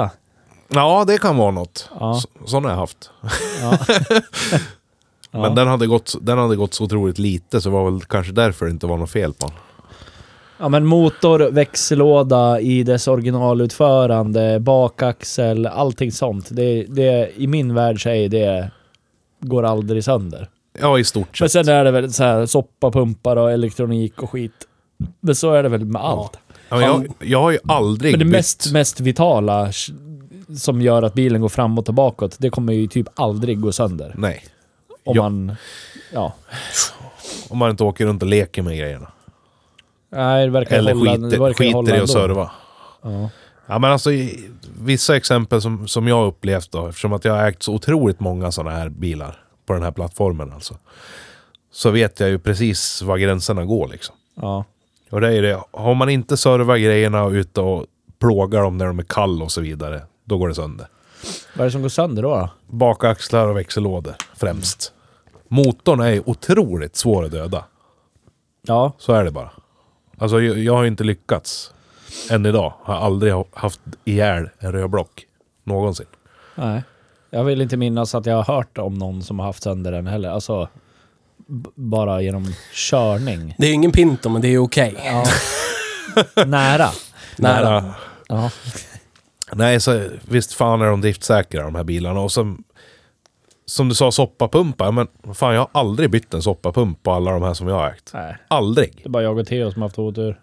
A: Ja, det kan vara något.
B: Ja.
A: Så, sån har jag haft.
B: Ja.
A: Men den hade, gått, den hade gått så otroligt lite så det var väl kanske därför det inte var något fel på den.
B: ja, men motor, växellåda i dess originalutförande, bakaxel, allting sånt. Det, det, I min värld så är det... Går aldrig sönder.
A: Ja, i stort
B: Men
A: sett.
B: sen är det väl så här soppapumpar och elektronik och skit. Men så är det väl med allt.
A: Ja, men jag, jag har ju aldrig
B: Men det
A: bytt-
B: mest, mest vitala sh- som gör att bilen går framåt och bakåt, det kommer ju typ aldrig gå sönder.
A: Nej,
B: Om
A: Ja.
B: man... Ja.
A: om man inte åker runt och leker med grejerna.
B: Nej, det verkar
A: Eller
B: hålla, det
A: skiter,
B: verkar hålla
A: skiter i
B: ändå.
A: att serva.
B: Ja.
A: Ja, men alltså, i- vissa exempel som, som jag har upplevt då, eftersom att jag har ägt så otroligt många sådana här bilar på den här plattformen alltså. Så vet jag ju precis var gränserna går liksom.
B: Ja.
A: Och det är ju det, har man inte servat grejerna och ute och plågar dem när de är kall och så vidare, då går det sönder.
B: Vad är det som går sönder då? då?
A: Bakaxlar och växellådor främst. Motorn är ju otroligt svår att döda.
B: Ja.
A: Så är det bara. Alltså jag, jag har ju inte lyckats. Än idag. Har aldrig ha- haft ihjäl en rödblock. Någonsin.
B: Nej. Jag vill inte minnas att jag har hört om någon som har haft sönder den heller. Alltså, b- bara genom körning.
C: Det är ju ingen Pinto, men det är ju okej.
B: Ja. Nära.
C: Nära.
B: Ja.
A: Nej, så visst fan är de driftsäkra de här bilarna. Och som, som du sa, soppapumpar. Men fan, jag har aldrig bytt en soppapump på alla de här som jag har ägt.
B: Nej.
A: Aldrig.
B: Det är bara jag och Theo som har haft otur.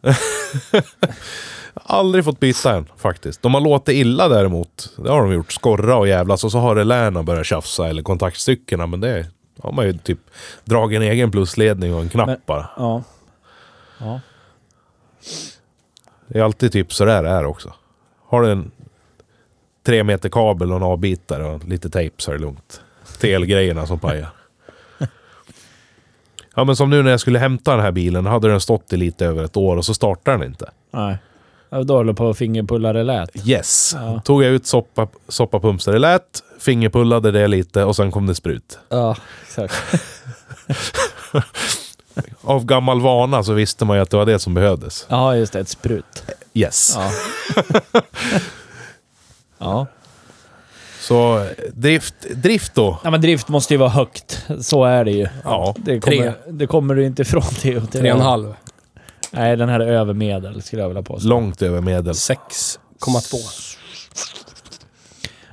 A: Aldrig fått byta en faktiskt. De har låtit illa däremot. Det har de gjort. Skorra och jävlas. Och så har relärerna börjat tjafsa eller kontaktstyckena. Men det har man ju typ dragit en egen plusledning och en knapp
B: Men-
A: bara.
B: Ja. Ja.
A: Det är alltid typ sådär det är också. Har du en tre meter kabel och en avbitare och lite tejp så är det lugnt. Till elgrejerna som pajar. [laughs] Ja men som nu när jag skulle hämta den här bilen, hade den stått i lite över ett år och så startar den inte.
B: Nej. Jag då höll jag på att fingerpulla det lät.
A: Yes!
B: Ja.
A: Tog jag ut soppa, soppapumpar där det lät, fingerpullade det lite och sen kom det sprut.
B: Ja, exakt.
A: Av gammal vana så visste man ju att det var det som behövdes.
B: Ja, just det. Ett sprut.
A: Yes!
B: Ja. ja.
A: Så eh, drift, drift då.
B: ja, men drift måste ju vara högt. Så är det ju.
A: Ja.
B: Det
C: Tre.
B: kommer, det kommer du inte ifrån Theo.
C: Tre och en halv.
B: Nej, den här är över medel skulle jag vilja påstå.
A: Långt över medel.
C: 6,2.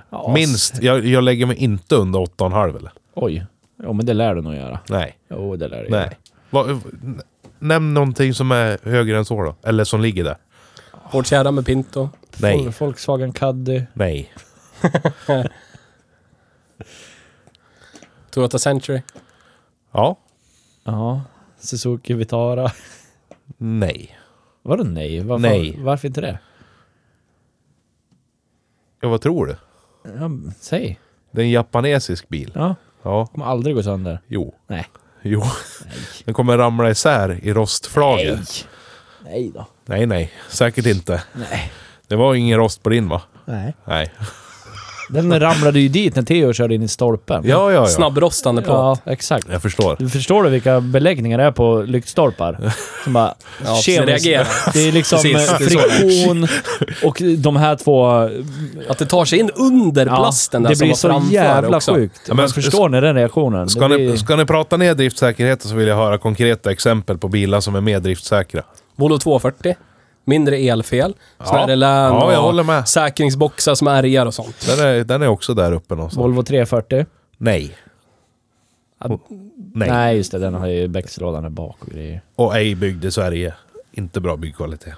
B: Ja,
A: Minst. Jag, jag lägger mig inte under 8,5 eller?
B: Oj. Jo, men det lär du nog göra.
A: Nej.
B: Jo, det lär du göra.
A: Nej. Va, n- nämn någonting som är högre än så då. Eller som ligger där.
C: Hård kärra med Pinto.
A: Nej.
B: Vol- Volkswagen Caddy.
A: Nej.
C: Toyota Century.
A: Ja.
B: Ja. Suzuki Vitara. [laughs]
A: Nej.
B: Vadå nej? Varför,
A: Nej.
B: Varför inte det?
A: Ja, vad tror du?
B: Ja, säg.
A: Det är en japanesisk bil.
B: Ja,
A: Ja,
B: kommer aldrig gå sönder.
A: jo.
B: Nej.
A: Jo. [laughs] Den kommer ramla isär i rostflagor. Nej.
B: Nej då.
A: nej, Säkert inte.
B: Nej.
A: Det var ingen rost på din va?
B: Nej.
A: Nej.
B: Den ramlade ju dit när Theo körde in i stolpen.
A: Ja, ja, ja.
C: Snabbrostande plåt.
B: Ja, exakt.
A: Jag förstår.
B: Du förstår du vilka beläggningar det är på lyktstolpar? Som bara...
C: Ja, precis,
B: kemiskt-
C: reagerar.
B: Det är liksom
C: Precis,
B: eh,
C: det är så.
B: friktion och de här två...
C: Att det tar sig in under
B: ja,
C: plasten där
B: det
C: som
B: blir
C: var
B: så
C: framför
B: jävla
C: också.
B: sjukt.
A: Ja, men
B: men
A: ska-
B: förstår ni den reaktionen?
A: Ska
B: det
A: ni,
B: blir-
A: ska ni prata ner driftsäkerheten så vill jag höra konkreta exempel på bilar som är mer driftsäkra.
C: Volvo 240. Mindre elfel. Snärre län
A: Ja, jag
C: och
A: håller med.
C: säkringsboxar som ärgar och sånt.
A: Den är, den är också där uppe någonstans.
B: Volvo 340?
A: Nej.
C: Ja,
A: Nej.
B: Nej, just det. Den har ju växellådan där bak och grejer.
A: Och ej byggd i Sverige. Inte bra byggkvalitet.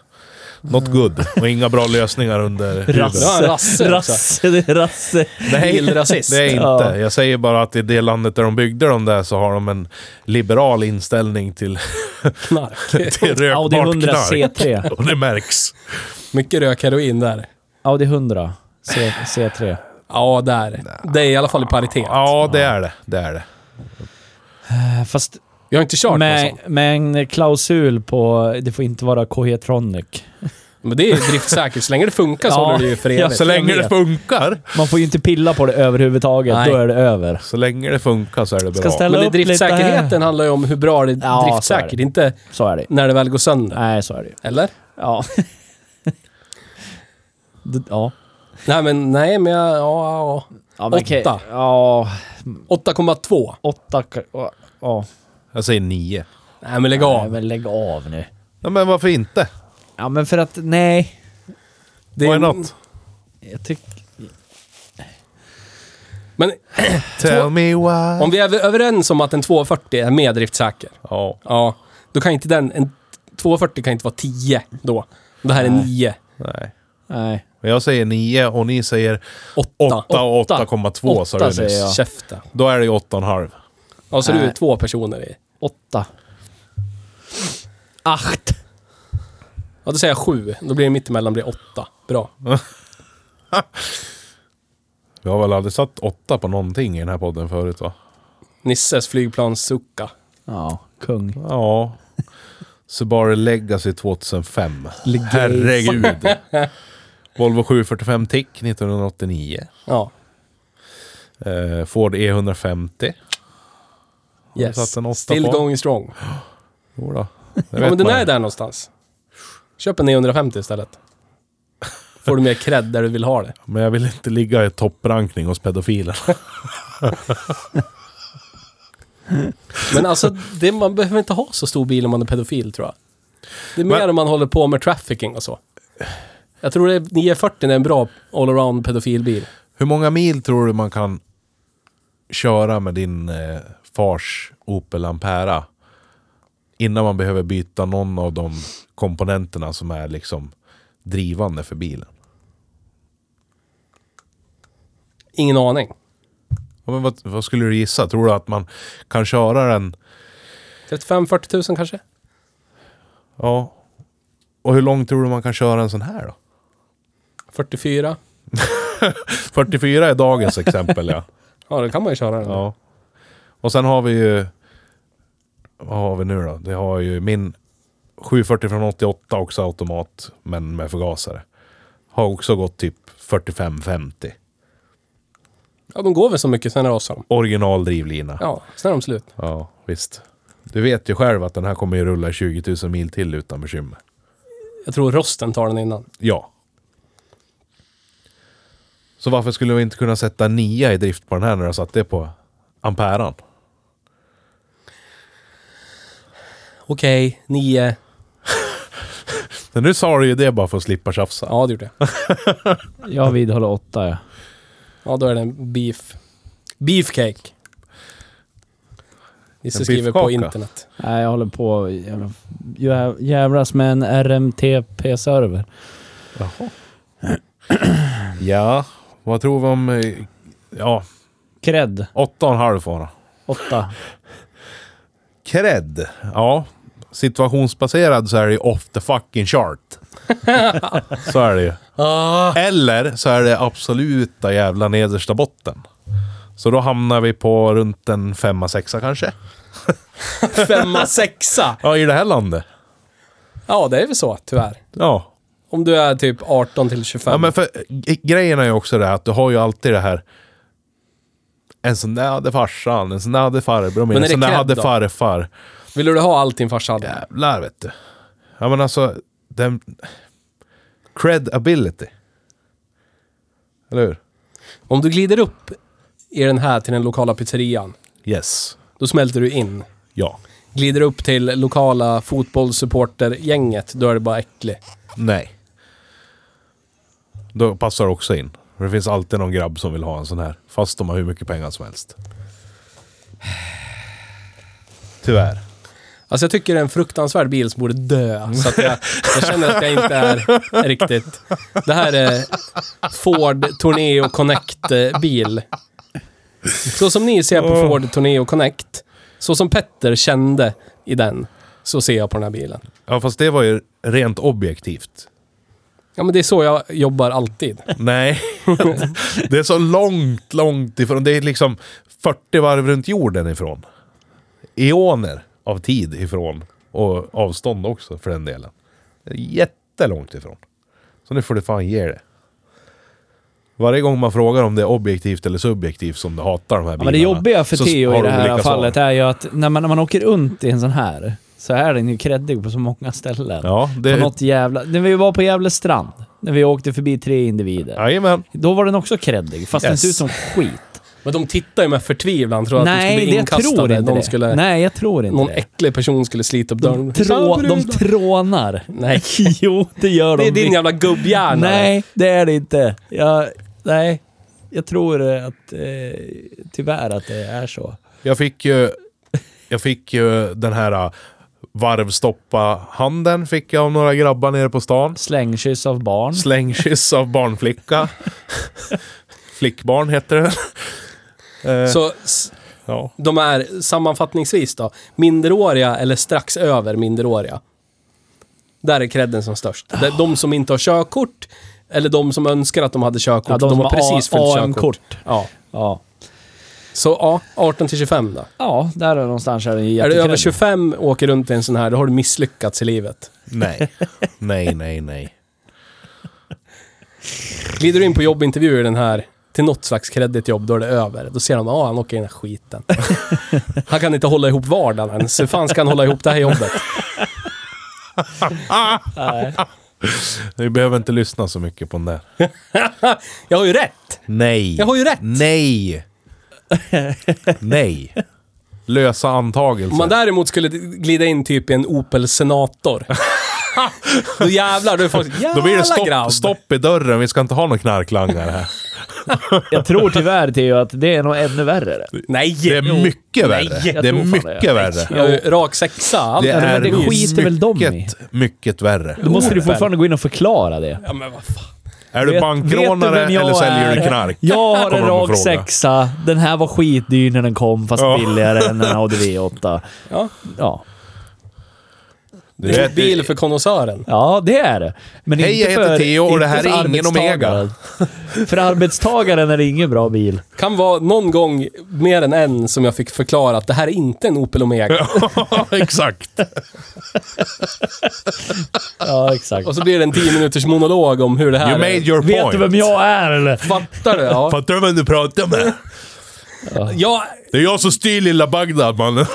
A: Not good. Och inga bra lösningar
B: [laughs]
A: under
C: Rass.
A: huden.
C: Ja, en rasse också.
B: rasse, det är rasse.
C: Bilrasist.
A: Det är
B: Ja.
A: inte. Jag säger bara att i det landet där de byggde de där så har de en liberal inställning till,
B: [laughs]
C: Knark.
A: [laughs] till
B: Audi
A: rökbart
B: 100
A: knark.
B: C3.
A: Och det märks.
C: Mycket rök heroin där.
B: Audi 100 C, C3.
C: Ja, där. Det är i alla fall i paritet.
A: Ja, det är det. Det är det.
B: Eh, Fast
C: Jag har inte kört med...
B: med,
C: sån.
B: med en klausul på det får inte vara Cohetronic.
C: Men det är ju driftsäkert. Så länge det funkar så
B: Ja.
C: håller det ju för
B: Ja,
C: evigt.
A: Så länge
B: vet.
A: det funkar.
B: Man får ju inte pilla på det överhuvudtaget,
C: Nej.
B: då är det över.
A: Så länge det funkar så är det
B: Ska
A: bra.
B: ställa-
C: Men det är
B: upp lite
C: driftsäkerheten handlar ju om hur bra det är
B: Ja, så är
C: driftsäkert.
B: det.
C: Inte
B: Så är det
C: när det väl går sönder.
B: Nej, så är det ju.
C: Eller?
B: Ja. [laughs] D- ja.
C: Nej, men nej, men jag... Ja, ja.
B: ja
C: Åtta.
B: okej. Ja,
C: 8,2.
B: åtta. ka- Ja. ja.
A: Jag säger nio.
C: Nej, men lägg
B: Nej,
C: av.
B: men lägg av nu.
A: Ja, men varför inte?
B: Ja, men för att nej.
C: Det
A: Why not?
B: Jag tycker...
C: Men
A: Tell me why.
C: om vi är överens om att en 240 är mer driftsäker.
A: Ja.
C: Ja. Då kan inte den... En 240 kan inte vara 10 då. Det här är 9.
A: Nej.
B: Nej.
A: Men Jag säger nio och ni säger
C: 8.
A: 8 och 8,2 sa du
B: Åtta
A: nyss.
B: säger jag.
C: Käften.
A: Då är det ju 8,5.
C: Ja, så du är
B: Nej.
C: två personer i.
B: Åtta. Acht.
C: Ja, då säger jag sju. Då blir det mittemellan blir åtta. Bra.
A: Vi har väl aldrig satt 8 på någonting i den här podden förut va?
C: Nisses flygplanssucka.
B: Ja, kung.
A: Ja. Subaru Legacy 2005.
C: [laughs]
A: Herregud. Volvo 745 Tick 1989.
C: Ja.
A: Eh, Ford E150. du satt en åtta
C: Yes. Still
A: på?
C: going strong.
A: Jo då.
C: Ja, men den är där någonstans. Köp en 950 istället. Får du mer cred där du vill ha det.
A: Men jag vill inte ligga i topprankning hos pedofiler. [laughs]
C: Men alltså, det, man behöver inte ha så stor bil om man är pedofil tror jag. Det är mer
A: Men-
C: om man håller på med trafficking och så. Jag tror det är 940 är en bra allround pedofilbil.
A: Hur många mil tror du man kan köra med din eh, fars Opel Ampera innan man behöver byta någon av de komponenterna som är liksom drivande för bilen?
C: Ingen aning.
A: Ja, men vad, vad skulle du gissa? Tror du att man kan köra den?
C: 35-40 000 kanske?
A: Ja. Och hur långt tror du man kan köra en sån här då?
C: 44?
A: 44 är dagens exempel ja.
C: Ja, det kan man ju köra. den.
A: ja. Och sen har vi ju... Vad har vi nu då? Det har ju min 740 från 88 också automat, men med förgasare. Har också gått typ 45-50.
C: Ja, de går väl så mycket, sen rasar de.
A: Original drivlina. Ja.
C: Ja, sen är de slut.
A: visst. Du vet ju själv att den här kommer ju rulla 20 000 mil till utan bekymmer.
C: Jag tror rosten tar den innan.
A: Ja. Så varför skulle vi inte kunna sätta en nia i drift på den här när du satt det på amperan?
C: Okej, nio.
A: Men nu sa du ju det bara för att slippa tjafsa.
C: Ja, det gjorde jag.
B: Jag vidhåller åtta, ja.
C: Ja, då är det en beef. Beefcake. Nisse
A: En
C: skriver på
A: beefkaka.
C: internet.
B: Nej, jag håller på jävla, jä- jävlas med en RMTP-server.
A: Ja, vad tror vi om... eh, Ja,
B: Cred,
A: åtta och en halv får han.
B: åtta.
A: Cred. Ja, situationsbaserad så är det ju off the fucking chart.
C: [laughs]
A: så är det ju.
C: Ah,
A: Eller så är det absoluta jävla nedersta botten. Så då hamnar vi på runt en femma, sexa kanske.
C: femma, sexa.
A: Ja, i det här landet.
C: Ja, det är väl så tyvärr.
A: Ja.
C: Om du är typ 18 till 25.
A: ja men för, g- grejen är ju också det här att du har ju alltid det här. En sån där hade farsan, en sån där hade farbror,
C: Men är
A: en
C: det
A: sån där
C: cred
A: hade
C: då?
A: farfar.
C: Vill du ha allt din farsa hade?
A: Jävlar vet du. Ja men alltså, den... Credibility. Eller hur?
C: Om du glider upp i den här till den lokala pizzerian,
A: Yes.
C: då smälter du in.
A: Ja.
C: Glider upp till lokala fotbollssupportergänget, då är det bara äcklig.
A: Nej. Då passar det också in. För Det finns alltid någon grabb som vill ha en sån här. Fast de har hur mycket pengar som helst. Tyvärr.
C: Alltså jag tycker det är en fruktansvärd bil som borde dö. Så att jag, jag känner att jag inte är riktigt... Det här är Ford Torneo Connect-bil. Så som ni ser på Ford Torneo Connect, så som Petter kände i den, så ser jag på den här bilen.
A: Ja fast det var ju rent objektivt.
C: Ja men det är så jag jobbar alltid.
B: [laughs]
A: Nej. det är så långt, långt ifrån. Det är liksom 40 varv runt jorden ifrån. Eoner av tid ifrån. Och avstånd också för den delen. Det är Jättelångt ifrån. Så nu får du fan ge det. Varje gång man frågar om det är objektivt eller subjektivt som du hatar de här bilarna.
B: Ja, men det jobbiga för
A: så
B: Theo i
A: har
B: det
A: de
B: här
A: olika
B: fallet
A: svar.
B: är ju att när man, när man åker runt i en sån här så är den ju kreddig på så många ställen.
A: Ja,
B: På
A: det...
B: något jävla... När vi var på Gävle strand, när vi åkte förbi tre individer.
A: Jajamän.
B: Då var den också kreddig, fast den
A: Yes.
B: ser ut som skit.
C: Men de tittar ju med förtvivlan, tror att de skulle
B: Nej,
C: bli
B: det
C: inkastade.
B: tror inte
C: de
B: det.
C: Skulle,
B: Nej, jag tror inte
C: Någon
B: det.
C: äcklig person skulle slita upp
B: De,
C: dörren.
B: trå, de trånar.
C: Nej.
B: [laughs] Jo, det gör de.
C: Det är din
B: visst.
C: jävla gubbhjärna.
B: Nej, det är det inte. Jag, nej, jag tror eh, att eh, tyvärr att det är så.
A: Jag fick ju... Jag fick ju den här äh, varvstoppa-handen fick jag av några grabbar nere på stan.
B: Slängkyss av barn.
A: Slängkyss av barnflicka. Flickbarn heter det.
C: Så s-
A: Ja.
C: de är sammanfattningsvis då, minderåriga eller strax över minderåriga. Där är credden som störst. Det
B: Ah.
C: är De som inte har körkort, eller de som önskar att de hade körkort.
B: Ja, de som
C: har
B: har
C: precis
B: A-
C: fyllt
B: AM-kort.
C: körkort. Ja.
B: Ja.
C: Så ja, 18 till 25 då.
B: ja, där någonstans är den ju
C: Är du över
B: jättekreddig.
C: 25 och åker runt i en sån här, då har du misslyckats i livet.
A: Nej. Nej, nej, nej.
C: Glider du in på jobbintervjuer i den här, till något slags kreddigt jobb, då är det över. Då ser de, ja han åker i den här
A: [laughs]
C: skiten. han kan inte hålla ihop vardagen ens. Hur fan ska han hålla ihop det här jobbet?
A: Vi behöver inte lyssna så mycket på den där.
C: Jag har ju rätt!
A: Nej.
C: Jag har ju rätt!
A: Nej. Nej. Lösa antagelser.
C: Om man däremot skulle glida in typ i en
A: [laughs]
C: Opel Senator. då jävlar, då är folk
A: Då blir det
C: grabb.
A: stopp, stopp i dörren. Vi ska inte ha någon knarklangare här.
B: Jag tror tyvärr Theo att det är nog ännu värre.
C: Nej!
A: Det
B: [laughs]
A: är mycket
B: jag
A: värre. Det är
B: tror fan det.
A: mycket värre.
C: Jag är ju rak sexa. Allt.
A: Det
B: men
A: är
B: det skiter väl de i?
A: mycket, mycket värre.
B: Då måste du fortfarande gå in och förklara det.
C: Ja, men vad fan.
A: Är du
B: Vet- vet
A: bankrånare
B: du vem jag
A: eller säljer du
B: är?
A: knark?
B: Jag har
A: Kommer
B: en
A: de att
B: rak
A: fråga.
B: sexa. Den här var skitdyr när den kom, fast
A: Ja.
B: billigare
A: [laughs]
B: än en Audi V8.
C: Ja.
B: Ja,
C: Det är en
A: vet, det-
C: bil för konnässören.
B: ja det är det. Men
A: Hej,
B: inte
A: jag heter
B: för-
A: Theo och
B: inte
A: det här
B: för
A: är ingen
B: arbetstagaren. [laughs] för arbetstagaren är det ingen bra bil.
C: Kan vara någon gång, mer än en, som jag fick förklara att det här är inte en Opel Omega.
A: [laughs] [laughs] Ja, exakt.
B: Ja, exakt.
C: Och så blir det en 10 minuters monolog om hur det här
A: You made your
B: Vet
A: point.
B: du vem jag är eller?
C: Fattar du?
A: [laughs]
C: Ja.
A: Fattar du vem du pratar med?
C: Jag,
A: Det är jag som styr lilla Bagdad mannen.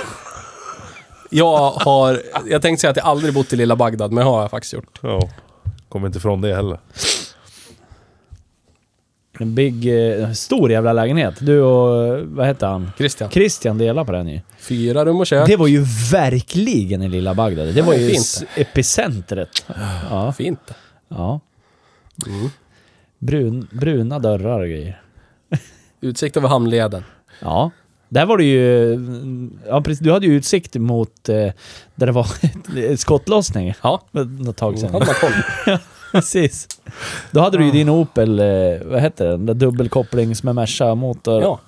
C: jag har... Jag tänkte säga att jag aldrig bott i lilla Bagdad, men det har jag faktiskt gjort.
A: Ja. Kommer inte ifrån det heller.
B: En big, eh, stor jävla lägenhet. Du och, eh, vad heter han?
C: Christian.
B: Christian delar på den ju.
C: Fyra rum och kök.
B: Det var ju verkligen i lilla Bagdad. Det var
C: Ja,
B: ju
C: fint.
B: s- epicentret. Ja.
C: Fint.
B: ja.
C: Mm.
B: Brun, bruna dörrar och grejer.
C: Utsikt över hamnleden.
B: Ja. Där var det ju... Ja, precis. Du hade ju utsikt mot eh, där det var [laughs] skottlossning.
C: Ja.
B: Något tag
C: Hade
B: sedan.
C: man koll.
B: [laughs] Precis. Då hade du ju din Opel, eh, vad heter den? Där dubbelkopplings med Merca-motor.
C: Ja.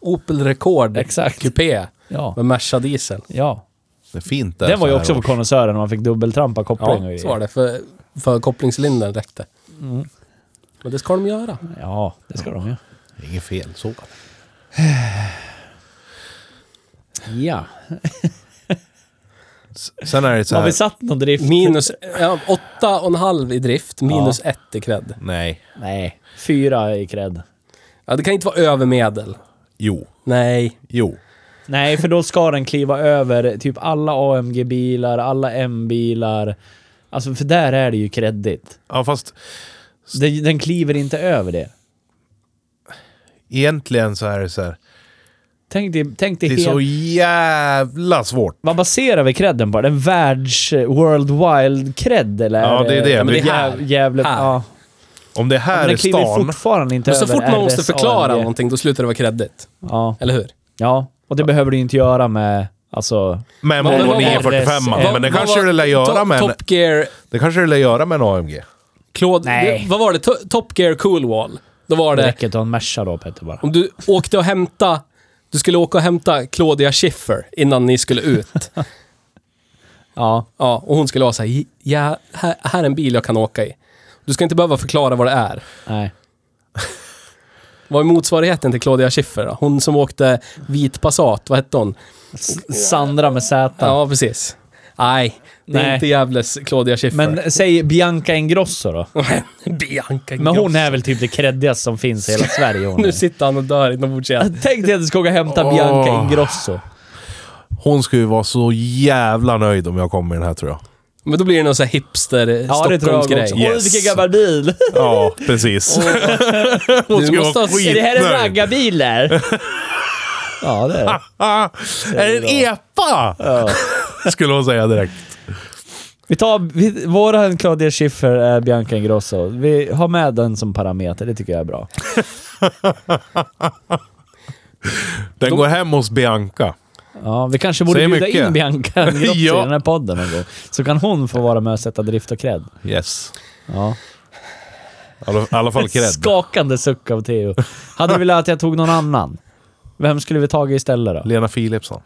C: Opel Rekord
B: Exakt.
C: Coupé
B: Ja.
C: med Merca diesel.
B: Ja.
A: Det är fint där.
B: Den var ju
A: så här
B: också på
A: års.
B: konnässören, man fick dubbeltrampa koppling och
C: Ja,
B: grejer.
C: så var det. För, för kopplingslinden räckte.
B: Mm.
C: Men det ska de göra.
B: Ja, det ska de ju.
A: Inget fel så.
B: Ja.
A: S- Sen är det så
B: Har vi
A: här.
B: satt någon drift?
C: Minus, ja, åtta och en halv i drift, minus ett i cred.
A: Nej.
B: Nej, fyra i cred.
C: Ja, det kan inte vara över medel.
A: Jo.
C: Nej.
A: Jo.
B: Nej, för då ska den kliva över typ alla AMG-bilar, alla M-bilar. Alltså, för där är det ju kreddigt.
A: Ja fast
B: Den, den kliver inte över det.
A: egentligen så är det så här.
B: Tänk dig, tänk dig
A: Det är så
B: helt...
A: jävla svårt.
B: Vad baserar vi credden på? Den världs... eh, World Wild cred eller?
A: Ja, det är det.
B: Ja,
A: men
C: det
B: här, jävla,
C: Här.
B: Ja.
A: Om det här
B: Men den
A: är
B: kliver
A: stan.
B: fortfarande inte
C: Men så
B: över
C: fort man måste
B: RS,
C: förklara
B: AMG.
C: någonting, då slutar det vara creddigt.
B: Ja.
C: Eller hur?
B: ja, och det behöver du ju inte göra med... Alltså...
A: Med
B: Vad-
A: Volvo
C: vad-
A: 945
B: vad-
A: Men det
C: Eh, Vad
A: kanske
C: var
A: du lär göra
C: Top-
A: med en,
C: Top Gear,
A: det kanske du lär göra med en AMG.
C: Claude,
B: Nej.
C: det, vad var det? To- Top Gear Cool Wall. Då var
B: Det
C: det,
B: räcker att ha en Merca då, Petter, bara.
C: om du åkte och hämta, du skulle åka och hämta Claudia Schiffer innan ni
B: [laughs]
C: skulle ut.
B: Ja.
C: Ja, och hon skulle vara så här, ja, här, här är en bil jag kan åka i. Du ska inte behöva förklara vad det är.
B: Nej.
C: Vad är motsvarigheten till Claudia Schiffer då? Hon som åkte vit Passat, vad hette hon?
B: S- Sandra med Z.
C: Ja, precis. Nej, det är
B: Nej.
C: inte jävles Claudia Schiffer.
B: Men säg Bianca Ingrosso då.
C: [laughs] Bianca
B: Men hon är
C: Ingrosso.
B: väl typ det creddigaste som finns [laughs] i hela Sverige. Hon
C: Nu
B: är.
C: sitter han och dör inombords igen.
B: Tänk dig att du ska åka och hämta
A: Åh.
B: Bianca Ingrosso.
A: Hon skulle ju vara så jävla nöjd om jag kom med den här tror jag.
C: Men då blir det någon sån här hipster
B: Ja, det tror jag också.
C: Stockholmsgrej.
B: Oj,
A: Yes.
B: vilken gammal [laughs] bil!
A: Ja, precis. [laughs] Hon
C: Du
A: skulle
C: måste
A: vara
C: ha-
B: Är det här en
A: skitnöjd.
B: raggarbil [laughs] där? Ja, det är det.
A: Ah, är det en epa? [laughs] Skulle hon säga direkt.
B: Vi tar... Vi, våran Claudia Schiffer är Bianca Ingrosso. Vi har med den som parameter, det tycker jag är bra.
A: Den går hem hos Bianca.
B: Ja, vi kanske borde
A: Säger
B: bjuda
A: mycket.
B: in [laughs] Bianca Ingrosso
A: Ja.
B: i den här podden någon gång. Så kan hon få vara med och sätta drift och cred.
A: Yes.
B: Ja.
A: I alla, i alla fall cred.
B: Skakande suck av Theo. Hade du velat att jag tog någon annan? Vem skulle vi tagit istället då?
A: Lena Philipsson.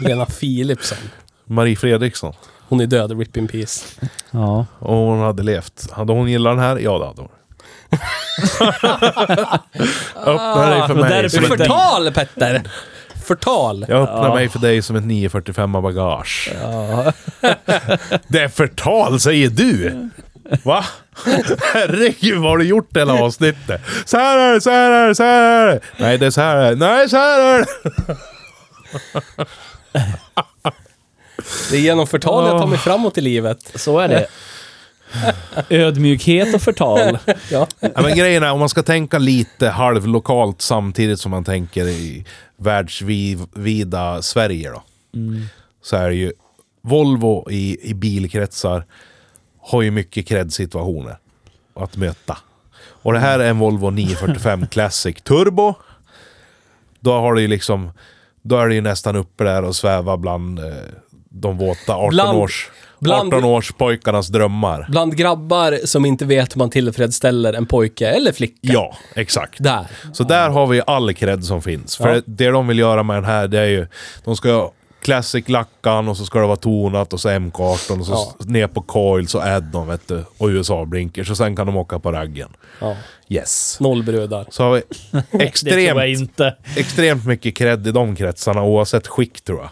C: Lena Philipsson.
A: Marie Fredriksson.
C: Hon är död, rip in peace.
B: Ja.
A: Om hon hade levt. Hade hon gillat den här? Ja, det hade hon. [laughs] öppnar dig för
B: men
A: mig.
B: därför
A: Som ett,
B: inte-
C: Förtal, Petter! Förtal!
A: jag öppnar mig för dig som ett 945 bagage. [laughs] det är förtal, säger du! Va? Herregud, vad har du gjort hela avsnittet? Så här är det, så här är det, så här är det. Nej, det är så här är det. Nej, så här är det.
C: Det är genom förtal jag tar mig framåt i livet.
B: Så är det. [laughs] Ödmjukhet och förtal.
C: [laughs] Ja.
A: Ja, men grejen är, om man ska tänka lite halvlokalt samtidigt som man tänker i världsvida Sverige då. Så är det ju, Volvo i, i bilkretsar har ju mycket cred-situationer att möta. Och det här är en Volvo [laughs] 945 Classic Turbo. Då har det ju liksom, då är det ju nästan uppe där och svävar bland eh, de våta 18-års...
C: bland-
A: 18-årspojkarnas drömmar.
C: Bland grabbar som inte vet hur man tillfredsställer en pojke eller flicka.
A: Ja, exakt.
C: Där.
A: Så där har vi all cred som finns. För det de vill göra med den här, det är ju... De ska classic lackan och så ska det vara tonat och så M18 och så
C: Ja.
A: s- ner på coils och add-on vet du. Och USA-blinkers och sen kan de åka på raggen.
C: Ja.
A: Yes.
C: Noll brudar.
A: Så har vi
B: Det tror jag
A: extremt,
B: inte.
A: extremt mycket cred i de kretsarna oavsett skick tror jag.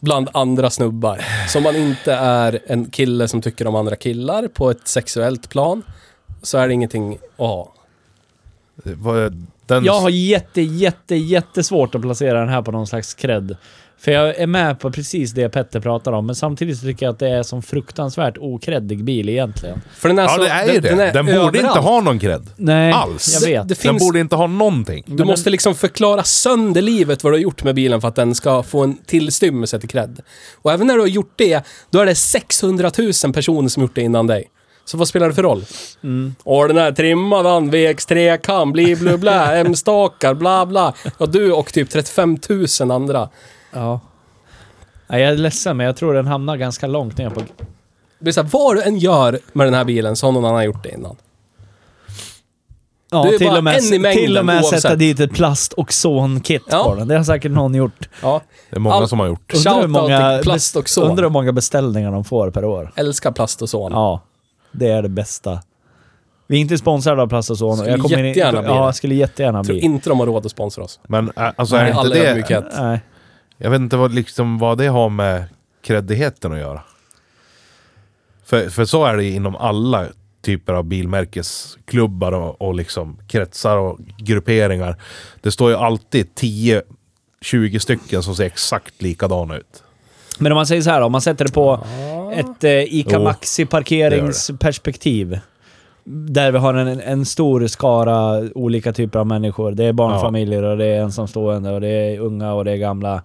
C: Bland andra snubbar. Som man inte är en kille som tycker om andra killar på ett sexuellt plan. Så är det ingenting att ha.
A: Det var- Den,
B: Jag har jätte, jätte, jättesvårt att placera den här på någon slags cred. För jag är med på precis det Petter pratar om, men samtidigt så tycker jag att det är som fruktansvärt okreddig bil egentligen.
C: För alltså, den är
A: ja,
C: så,
A: det är ju det. Den, borde inte
C: överallt.
A: ha någon cred.
B: Nej,
A: Alls.
B: jag vet.
C: Det
A: Den
C: finns-
A: borde inte ha någonting.
C: Du måste liksom förklara sönder livet vad du har gjort med bilen för att den ska få en tillstymmelse till cred. Och även när du har gjort det, då är det 600 000 personer som gjort det innan dig. Så vad spelar det för roll?
A: Mm.
C: Och den här trimmad anvex, trekam, bli blu blä,
A: [laughs]
C: M-stakar, bla bla. Ja, du och typ 35 000 andra.
B: Ja. Nej, jag är ledsen, men jag tror den hamnar ganska långt ner på...
C: Det blir såhär, vad du än gör med den här bilen så har någon annan gjort det innan. Du är
B: till,
C: bara
B: och med,
C: en i mängden,
B: till och med
C: oavsett.
B: sätta dit ett plast och kit
C: Ja.
B: på den. Det har säkert någon gjort.
C: Ja,
A: Det är många
C: Allt-
A: som har gjort.
B: Undrar hur,
C: Shoutout
B: många,
C: till plast och son. Mm.
B: undrar hur många beställningar de får per år.
C: älskar plast och son.
B: Ja, det är det bästa. Vi är inte sponsrade av Plast och son.
C: Skulle
B: Jag kommer in-
C: jättegärna bli
B: Ja,
C: det.
B: jag skulle jättegärna
C: Jag tror
B: bli.
C: inte de har råd att sponsra oss.
A: Men äh, alltså,
C: Med
A: är
C: all
A: inte det,
C: ödmjukhet.
B: Nej.
A: jag vet inte vad, liksom, vad det har med kreddigheten att göra. För, för så är det inom alla typer av bilmärkesklubbar och, och liksom kretsar och grupperingar. Det står ju alltid 10-20 stycken som ser exakt likadana ut.
B: Men om man säger så här, om man sätter det på
C: Ah.
B: ett eh, ICA
A: Jo,
B: Maxi-parkeringsperspektiv. Där vi har en, en stor skara olika typer av människor. Det är barnfamiljer och det är ensamstående och det är unga och det är gamla.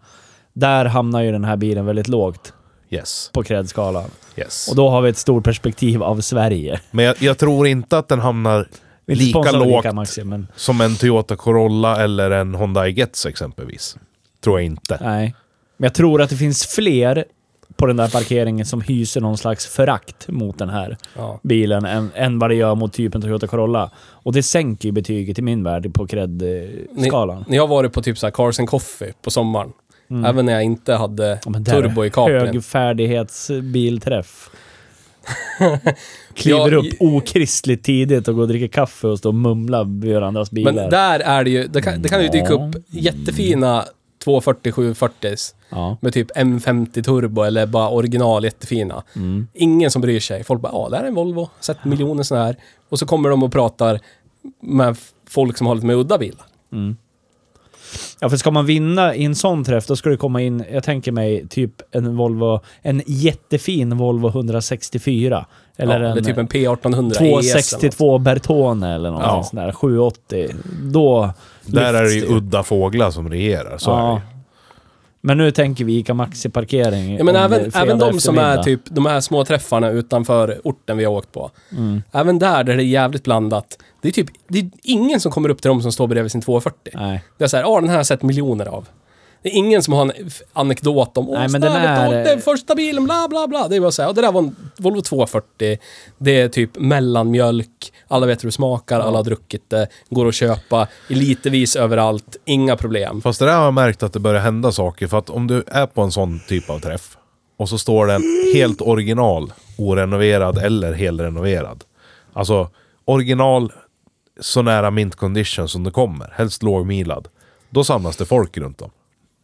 B: Där hamnar ju den här bilen väldigt lågt
A: Yes.
B: på kredskalan.
A: yes.
B: Och då har vi ett stort perspektiv av Sverige.
A: Men jag, jag tror inte att den hamnar
B: Vi är inte
A: lika
B: sponsrade av
A: lågt
B: ICA Maxi, men
A: som en Toyota Corolla eller en Honda Getz exempelvis. Tror jag inte.
B: nej. Men jag tror att det finns fler på den där parkeringen som hyser någon slags förakt mot den här.
C: Ja.
B: bilen än, än vad det gör mot typen Toyota Corolla. Och det sänker ju betyget i min värld på cred-skalan.
C: När jag har varit på typ så här Cars and Coffee på sommaren, även när jag inte hade
B: Mm. Ja, men där-
C: turbo i kapeln.
B: Högfärdighetsbilträff. Kliver upp okristligt tidigt och går och dricker kaffe och står och mumlar vid varandras bilar.
C: Men där är det ju, det kan, det kan ju dyka
B: Ja.
C: upp jättefina 240 740
B: ja.
C: med typ M50 turbo eller bara original jättefina.
B: Mm.
C: Ingen som bryr sig. Folk bara, ja, det här är en Volvo. Sett miljoner sådana här. Och så kommer de och pratar med f- folk som har lite mer udda bilar.
B: Mm. ja, för ska man vinna i en sån träff, då ska det komma in, jag tänker mig, typ en Volvo, en jättefin Volvo 164. Eller
C: Eller ja,
B: en,
C: det är typ en P1800 ES eller något.
B: 262 Bertone eller någonting
A: Ja.
B: sånt där. 780. Då
A: Där är det ju
B: lyfts
A: udda fåglar som regerar. Så är det ju.
B: Men nu tänker vi Ica Maxi-parkering.
C: Ja, men
B: om
C: även,
B: det är
C: även de som
B: fredag
C: är typ de här små träffarna utanför orten vi har åkt på.
B: Mm.
C: Även där, där det är jävligt blandat. Det är typ, det är ingen som kommer upp till dem som står bredvid sin 240.
B: eftermiddag. Nej.
C: Det är så här, ja den här har jag sett miljoner av. Det är ingen som har en f- anekdot om, åh
B: Nej, men
C: snälla,
B: den
C: vet du,
B: är-
C: åkte den första bilen, bla bla bla. Det är bara så här, ja, det där var en Volvo 240. Det är typ mellanmjölk, alla vet hur det smakar, alla har druckit det, går att köpa i litevis överallt, inga problem.
A: Fast det där har jag märkt att det börjar hända saker. För att om du är på en sån typ av träff och så står det en helt original, orenoverad eller helrenoverad. Alltså original så nära mint condition som det kommer. Helst lågmilad. Då samlas det folk runt om.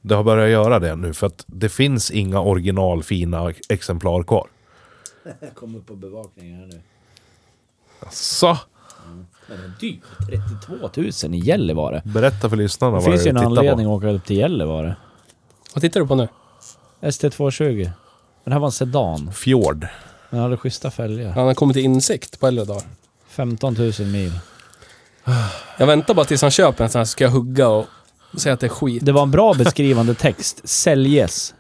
A: Det har börjat göra det nu för att det finns inga originalfina exemplar kvar.
B: Jag kom upp på bevakningen här nu.
A: Så,
B: Men den dyr. 32 000 i Gällivare.
A: berätta för lyssnarna
B: Det
A: vad det är
B: finns ju
A: du
B: en
A: tittar
B: anledning
A: på.
B: att åka upp till Gällivare.
C: Vad tittar du på nu?
B: ST220. Den här var en sedan.
A: Fjord.
B: Den hade schyssta fälgar.
C: Han har kommit till insikt på äldre dagar.
B: 15 000 mil.
C: Jag väntar bara tills han köper en sån här så ska jag hugga och säga att det är skit.
B: Det var en bra beskrivande text. Säljes.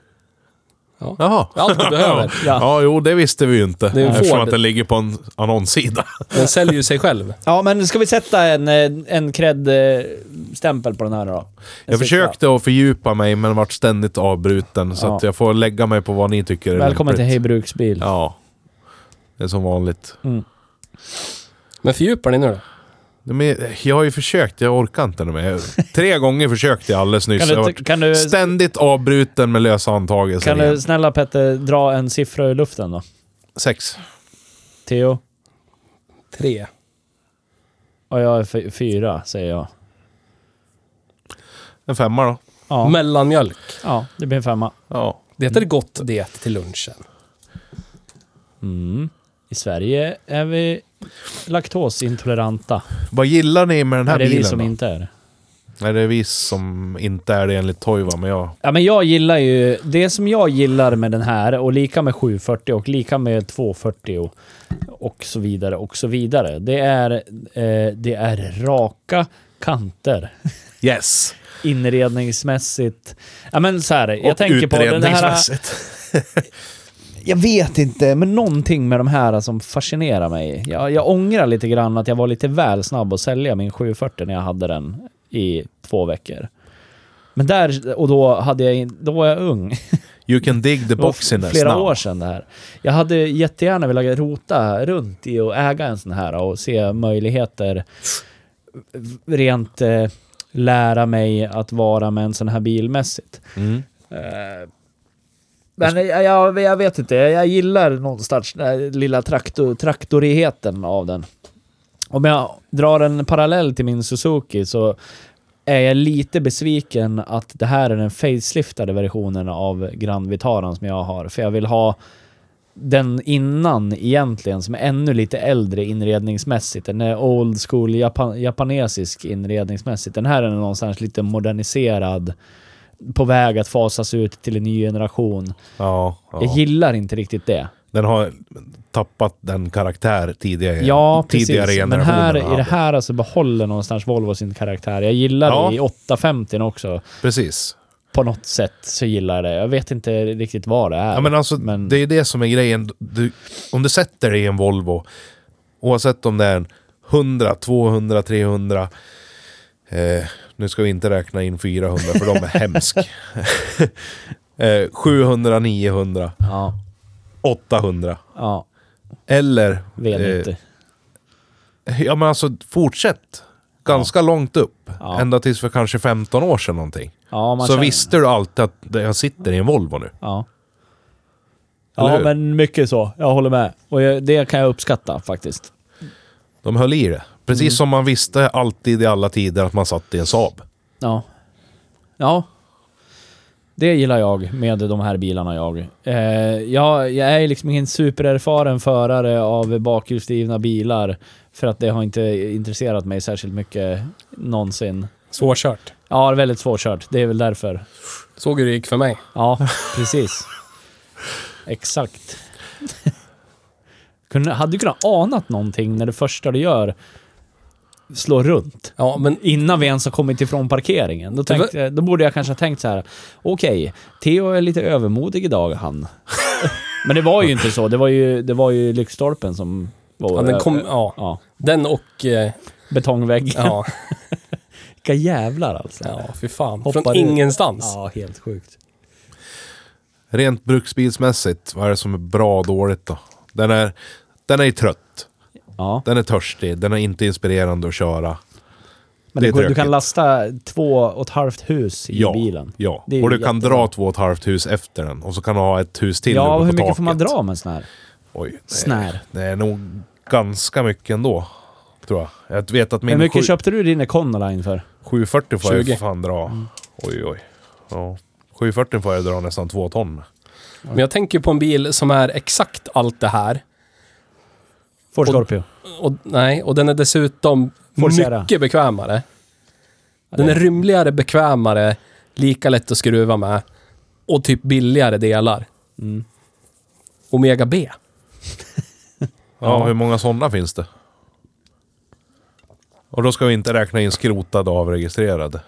A: Jaha.
C: Allt du behöver.
A: Ja.
B: Ja.
A: jo det visste vi ju inte.
C: Det är en
A: Eftersom
C: Ford.
A: att det ligger på en annonssida.
C: Den säljer ju sig själv.
B: ja, men ska vi sätta en, eh, en cred-stämpel på den här då? Den
A: Jag
B: sista.
A: försökte att fördjupa mig men vart ständigt avbruten. Så
B: Ja.
A: att jag får lägga mig på vad ni tycker är
B: Välkommen till
A: lämpligt.
B: Hej Bruksbil.
A: Ja. Det är som vanligt.
C: Men fördjupar ni nu då?
A: Men jag har ju försökt, jag orkar inte nu mer. Tre gånger försökte jag alldeles nyss.
B: Kan
A: Jag har
B: du,
A: varit
B: kan, du,
A: ständigt avbruten med lösa
B: kan
A: antagelser.
B: du
A: igen.
B: snälla Petter dra en siffra ur luften då?
A: Sex.
B: Theo?
C: Tre.
B: Och jag är fy- fyra, säger jag.
A: En femma då.
B: Ja,
C: Mellanmjölk.
B: ja det blir en femma.
A: Ja.
C: Det är gott det till lunchen.
B: Mm. I Sverige är vi laktosintoleranta.
A: Vad gillar ni med den här
B: är det
A: bilen
B: vi som
A: då?
B: inte är det?
A: Nej, det är vi som inte är det enligt Toiva, men jag...
B: Ja, men jag gillar ju... Det som jag gillar med den här, och lika med 740 och lika med 240 och, och så vidare och så vidare. Det är, eh, det är raka
A: [laughs]
B: kanter.
A: Yes!
B: Inredningsmässigt. Ja, men så här, jag
A: Och
B: tänker på den här...
A: utredningsmässigt.
B: Jag vet inte, men någonting med de här som fascinerar mig. Jag, jag ångrar lite grann att jag var lite väl snabb att sälja min 740 när jag hade den i två veckor. Men där, och då, hade jag, in- då var jag ung.
A: You can dig the
B: Det var
A: boxiness
B: flera
A: now.
B: år sedan det här. Jag hade jättegärna velat rota runt i och äga en sån här och se möjligheter rent eh, lära mig att vara med en sån här bilmässigt.
A: Mm.
B: Eh, Men jag, jag, jag vet inte, jag gillar någonstans den här lilla traktor, traktorigheten av den. Om jag drar en parallell till min Suzuki så är jag lite besviken att det här är den faceliftade versionen av Grand Vitaran som jag har. För jag vill ha den innan egentligen, som är ännu lite äldre inredningsmässigt. Den är old school japan japanesisk inredningsmässigt. Den här är någonstans lite moderniserad, på väg att fasas ut till en ny generation.
A: Ja, ja.
B: Jag gillar inte riktigt det.
A: Den har tappat den karaktär tidigare,
B: Ja,
A: tidigare
B: precis. Men
A: generationer
B: här, i
A: hade.
B: det här alltså behåller någonstans Volvo sin karaktär. Jag gillar
A: Ja.
B: det i 850 också.
A: Precis.
B: På något sätt så gillar jag det. Jag vet inte riktigt vad det är.
A: Ja, men alltså, Det är det som är grejen. Du, om du sätter dig i en Volvo, oavsett om det är en 100, 200, 300. Eh, nu ska vi inte räkna in 400 för de är
B: [laughs]
A: hemsk. [laughs] eh, 700, 900,
B: Ja,
A: 800.
B: ja
A: Eller...
B: vet
A: eh,
B: inte.
A: Ja men alltså fortsätt. Ganska långt upp.
B: Ja.
A: Ända tills för kanske 15 år sedan någonting.
B: Ja, man
A: så
B: känner-
A: visste du alltid att jag sitter i en Volvo nu.
B: Ja.
A: Eller
B: Ja,
A: hur?
B: men mycket så. Jag håller med. Och jag, det kan jag uppskatta faktiskt.
A: De höll i det. Precis
B: Mm.
A: som man visste alltid i alla tider att man satt i en Saab.
B: Ja. Ja. Det gillar jag med de här bilarna jag. Eh, jag, jag är liksom ingen supererfaren förare av bakhjulsdrivna bilar. För att det har inte intresserat mig särskilt mycket någonsin.
C: Svårkört.
B: Ja, det är väldigt svårkört. Det är väl därför.
C: Såg hur det gick för mig.
B: Ja, precis. Exakt. [laughs] Kunde, hade du kunnat anat någonting när det första du gör slår runt?
C: Ja, men
B: Innan vi ens har kommit ifrån parkeringen. Då, tänkte, jag- då borde jag kanske ha tänkt så här. Okej, Theo är lite övermodig idag
A: [laughs]
B: han. Men det var ju inte så. Det var ju, det var ju lyktstolpen som var...
C: ja, den, kom, ja,
B: ja,
C: den och... eh,
B: betongväggen.
C: Ja,
B: Vilka jävlar alltså.
C: ja fy fan.
B: Hoppar
C: Från
B: ut.
C: ingenstans.
B: Ja, helt sjukt.
A: Rent bruksbilsmässigt, vad är det som är bra och dåligt då? Den är, den är trött.
B: Ja.
A: Den är törstig. Den är inte inspirerande att köra.
B: Men
A: Det är
B: det går, du
A: tråkigt.
B: kan lasta två och ett halvt hus i
A: Ja.
B: bilen.
A: ja.
B: Det är
A: Och
B: ju
A: du kan
B: jättebra.
A: dra två och ett halvt hus efter den. Och så kan du ha ett hus till
B: Ja,
A: uppe på
B: hur mycket
A: taket.
B: får man dra med en sån här?
A: Oj, det är-
B: Snär.
A: Det är nog ganska mycket ändå. Tror jag. Jag vet att
B: Hur
A: min
B: mycket
A: sju,
B: köpte du din Econoline för?
A: 740 får
C: 20.
A: jag fan dra. Oj, oj. Ja. 740 får jag dra nästan två ton.
C: Men jag tänker på en bil som är exakt allt det här.
B: Ford
C: Och-
B: Scorpio.
C: Och, nej, och den är dessutom
B: Ford Sierra.
C: mycket bekvämare.
B: Ja,
C: Den
B: det-
C: är rymligare, bekvämare, lika lätt att skruva med och typ billigare delar.
B: Mm.
C: Omega B.
A: Ja, hur många sådana finns det? Och då ska vi inte räkna in skrotade och avregistrerade.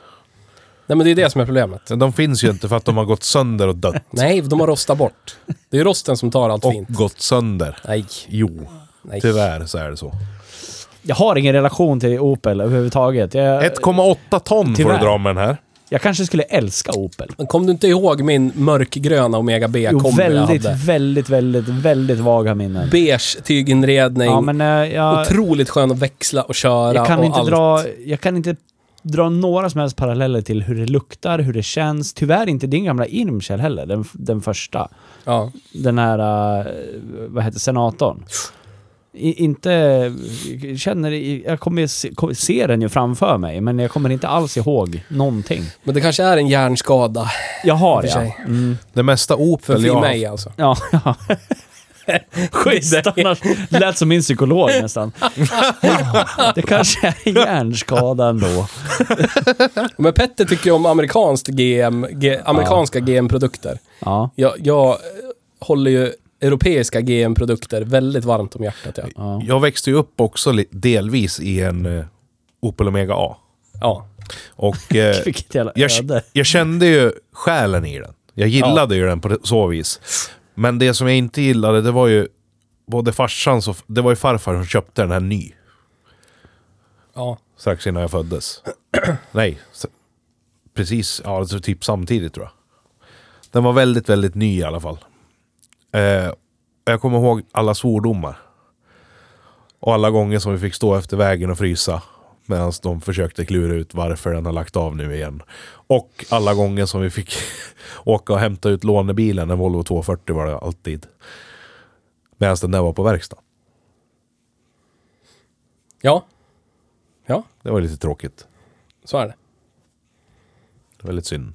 C: Nej, men det är det som är problemet.
A: Men De finns ju inte för att de har gått sönder och dött.
C: Nej, de har rostat bort. Det är rosten som tar allt
A: Och
C: fint.
A: gått sönder.
C: Nej,
A: Jo,
C: nej.
A: tyvärr så är det så.
B: Jag har ingen relation till Opel överhuvudtaget. Jag,
A: 1,8 ton får
B: Eh, tyvärr.
A: du dra med den här.
B: jag kanske skulle älska Opel.
C: Men Kom du inte ihåg min mörkgröna Omega B
B: Jo,
C: kombi jag
B: väldigt,
C: hade?
B: väldigt, väldigt, väldigt vaga minnen.
C: Beige tyginredning.
B: Ja, men eh, jag,
C: Otroligt skön att växla och köra
B: jag, kan
C: och
B: inte
C: allt.
B: dra, jag kan inte dra några som helst paralleller till hur det luktar, hur det känns. Tyvärr inte din gamla Irm, Kjell, heller, den, den första.
C: Ja.
B: den här, eh, vad heter senatorn. I, inte, känner, jag kommer se, kommer se den ju framför mig, men jag kommer inte alls ihåg någonting.
C: Men det kanske är en hjärnskada.
B: Jag har
C: I och för
B: det.
C: sig.
B: Mm.
A: Det mesta
C: För,
A: Opel jag
C: för
A: har
C: mig alltså.
B: Ja. [laughs] Schysst, annars lät som min psykolog nästan. Ja, det kanske är hjärnskada ändå.
C: Men Petter tycker ju om amerikanskt GM, G, amerikanska GM-produkter.
B: Ja,
C: Jag, jag eh, håller ju europeiska GM-produkter väldigt varmt om hjärtat. Ja.
B: ja.
A: Jag växte ju upp också li- delvis i en eh, Opel Omega A.
C: ja.
A: Och eh,
B: Vilket jävla
A: jag,
B: öde.
A: jag kände ju själen i den. Jag gillade ju den på det- så vis. Men det som jag inte gillade, det var ju både farsans och... Det var ju farfar som köpte den här ny.
C: ja.
A: Strax innan jag föddes. [clears throat] Nej. s- Precis, ja alltså typ samtidigt tror jag. Den var väldigt, väldigt ny i alla fall. Eh, och jag kommer ihåg alla svordomar. Och alla gånger som vi fick stå efter vägen och frysa. Medan de försökte klura ut varför den har lagt av nu igen. Och alla gånger som vi fick [laughs] åka och hämta ut lånebilen, en Volvo 240 var det alltid. Medan den där var på verkstad.
C: Ja. Ja,
A: Det var lite tråkigt.
C: så är det.
A: Det var lite synd.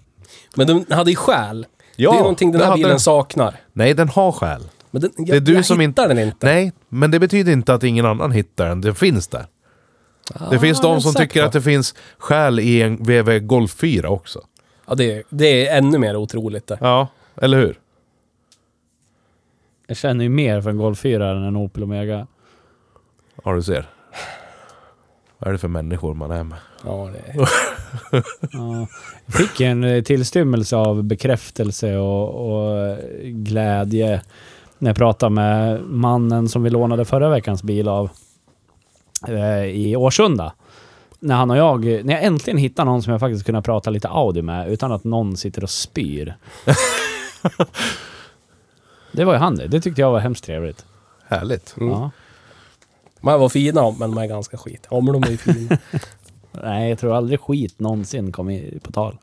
C: Men den hade ju själ.
A: Ja,
C: det är någonting den
A: det
C: här
A: hade
C: bilen
A: den.
C: saknar.
A: Nej, den har själ.
C: Men den, jag,
A: Det är du
C: jag
A: som
C: hittar
A: inte-
C: den inte.
A: Nej, men det betyder inte att ingen annan hittar den. Den finns där. det finns
C: Ah, jag är
A: de som
C: säker
A: tycker
C: på.
A: att det finns själ i en VW Golf 4 också.
C: Ja, det, är- det är ännu mer otroligt det.
A: Ja, eller hur?
B: Jag känner ju mer för en Golf 4 än en Opel Omega.
A: Ja, du ser. Vad är det för människor man är med?
C: Ja, det är.
B: Ja. Jag fick en eh, tillstymmelse av bekräftelse och, och eh, glädje när jag pratade med mannen som vi lånade förra veckans bil av eh, i Årsunda. När han och jag, när jag äntligen hittar någon som jag faktiskt kunde prata lite Audi med utan att någon sitter och
C: [laughs]
B: spyr. det var ju han det. Det tyckte jag var hemskt trevligt.
A: Härligt.
C: Mm.
B: Ja.
C: De här var fina, men de är ganska skit. Ja, men de är
A: [laughs]
C: ju fina.
B: Nej, jag tror aldrig skit någonsin kom i, på tal.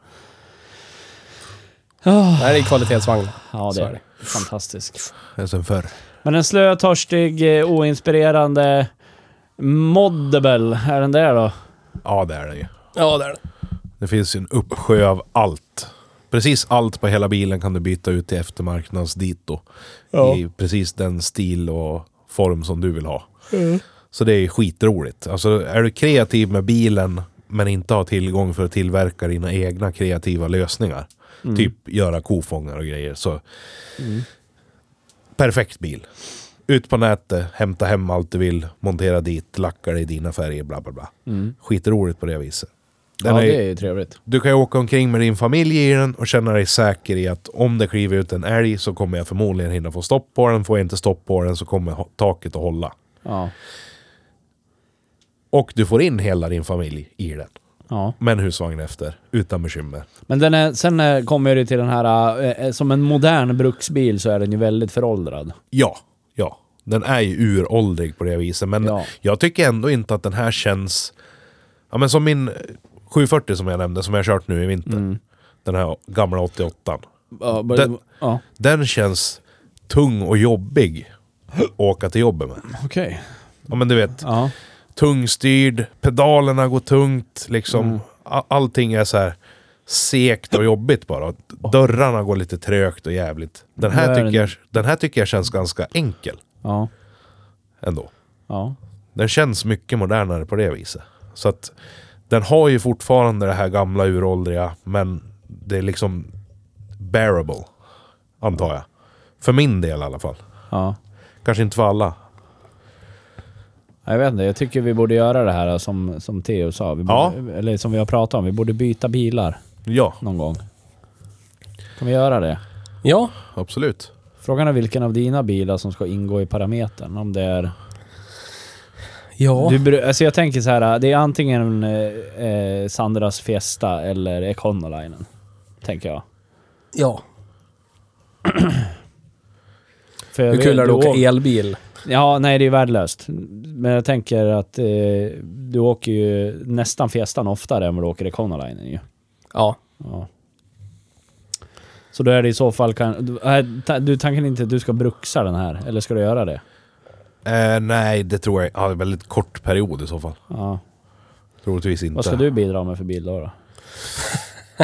C: det här är kvalitetsvagnar.
B: Ja,
C: Så
B: det
C: är
B: är fantastiskt.
A: Det är Sen förr.
B: Men en slö, törstig, eh, oinspirerande Moddable, är den där då?
A: Ja, det är den ju.
C: Ja, det är det.
A: Det finns ju en uppsjö av allt. Precis allt på hela bilen kan du byta ut till eftermarknadsdito.
C: Ja.
A: I precis den stil och form som du vill ha.
B: Mm.
A: Så det är ju skitroligt. Alltså är du kreativ med bilen men inte har tillgång för att tillverka dina egna kreativa lösningar.
B: Mm.
A: Typ göra kofångar och grejer. Så perfekt bil. Ut på nätet, hämta hem allt du vill, montera dit, lacka det i dina färger, bla bla bla. Skitroligt på det viset. Den
B: Mm. ja,
A: är-
B: det är ju trevligt.
A: du kan ju åka omkring med din familj i den och känna dig säker i att om det kliver ut en älg så kommer jag förmodligen hinna få stopp på den. Får jag inte stopp på den så kommer ho- taket att hålla.
B: Ja.
A: Och du får in hela din familj i den.
B: ja.
A: Med en husvagn efter, utan bekymmer.
B: Men den är, sen eh, kommer det till den här, eh, eh, som en modern bruksbil så är den ju väldigt föråldrad.
A: Ja, ja. Den är ju uråldrig på det viset. Men
B: Ja.
A: jag tycker ändå inte att den här känns... Ja men som min eh, 740 som jag nämnde, som jag har kört nu i vinter. Den här gamla 88. bara-
B: Ja,
A: Den-
B: ja.
A: Den känns tung och jobbig att åka till jobbet med.
B: okej.
A: Ja men du vet,
B: Ja.
A: tungstyrd, pedalerna går tungt, liksom.
B: Mm.
A: A- Allting är så här sekt och jobbigt bara. Dörrarna går lite trögt och jävligt. Den
B: Det
A: här,
B: är
A: tycker
B: en-
A: jag, den här tycker jag känns ganska enkel
B: Ja.
A: ändå.
B: Ja.
A: Den känns mycket modernare på det viset. Så att den har ju fortfarande det här gamla uråldriga, men det är liksom bearable, antar jag. För min del i alla fall.
B: ja.
A: Kanske inte för alla.
B: Jag vet inte, jag tycker vi borde göra det här som, som Theo sa. Vi
A: Ja.
B: borde, Eller som vi har pratat om, vi borde byta bilar
A: Ja,
B: någon gång. Kan vi göra det?
C: Ja,
A: absolut.
B: Frågan är vilken av dina bilar som ska ingå i parametern. Om det är
C: ja.
B: Du, br- alltså jag tänker så här, det är antingen eh, eh, Sandras Fiesta eller Econolinen. Tänker jag.
C: ja.
B: För jag
C: Hur kul är det att åka
B: åker-
C: elbil?
B: Ja, nej det är värdelöst. Men jag tänker att eh, du åker ju nästan Fiestan oftare än vad du åker Econolinen ju.
C: Ja.
B: Ja. Så då är det i så fall kan, du, äh, ta- du tanken inte att du ska bruxa den här? Eller ska du göra det?
A: Eh, nej, det tror jag. Ja, det är en väldigt kort period i så fall.
B: Ja.
A: Troligtvis inte.
B: Vad ska du bidra med för bil då? då?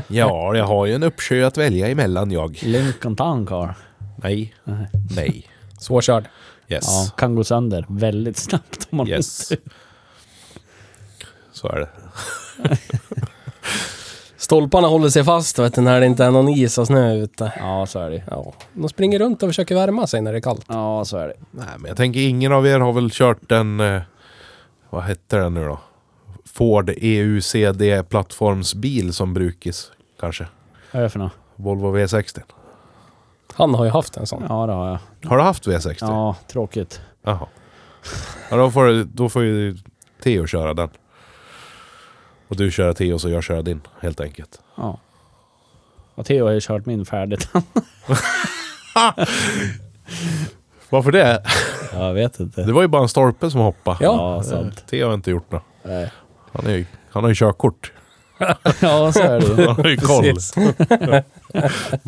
A: Ja, jag har ju en uppsjö att välja emellan jag.
B: Lincoln Town Car.
A: Nej.
B: Nej.
A: Nej.
C: Svårkörd.
A: Yes.
B: Ja, kan gå sönder väldigt snabbt om man
A: Yes. Så är det.
C: Stolparna håller sig fast vet du, när det inte är någon is och snö ute.
B: Ja, så är det
C: Ja. De springer runt och försöker värma sig när det är kallt.
B: Ja, så är det.
A: Nej, men jag tänker ingen av er har väl kört den... Eh, vad hette den nu då? Ford E EUCD-plattformsbil som brukis, kanske.
B: Vad är det för något?
A: Volvo V60.
C: Han har ju haft en sån.
B: Ja, det har jag.
A: Har du haft V60?
B: Ja, tråkigt.
A: Jaha. Ja, då får, då får ju Theo köra den. Och du köra Teos och jag köra din, helt enkelt.
B: Ja. Och Theo har ju kört min [laughs] färdigt.
A: Varför det?
B: jag vet inte.
A: Det var ju bara en stolpe som hoppade.
C: Ja.
B: Ja, sant.
A: Theo har inte gjort något.
B: Nej.
A: Han, är ju, han har ju körkort.
B: [laughs] ja, så är det ju.
A: Han har [laughs] ju koll.
C: Precis.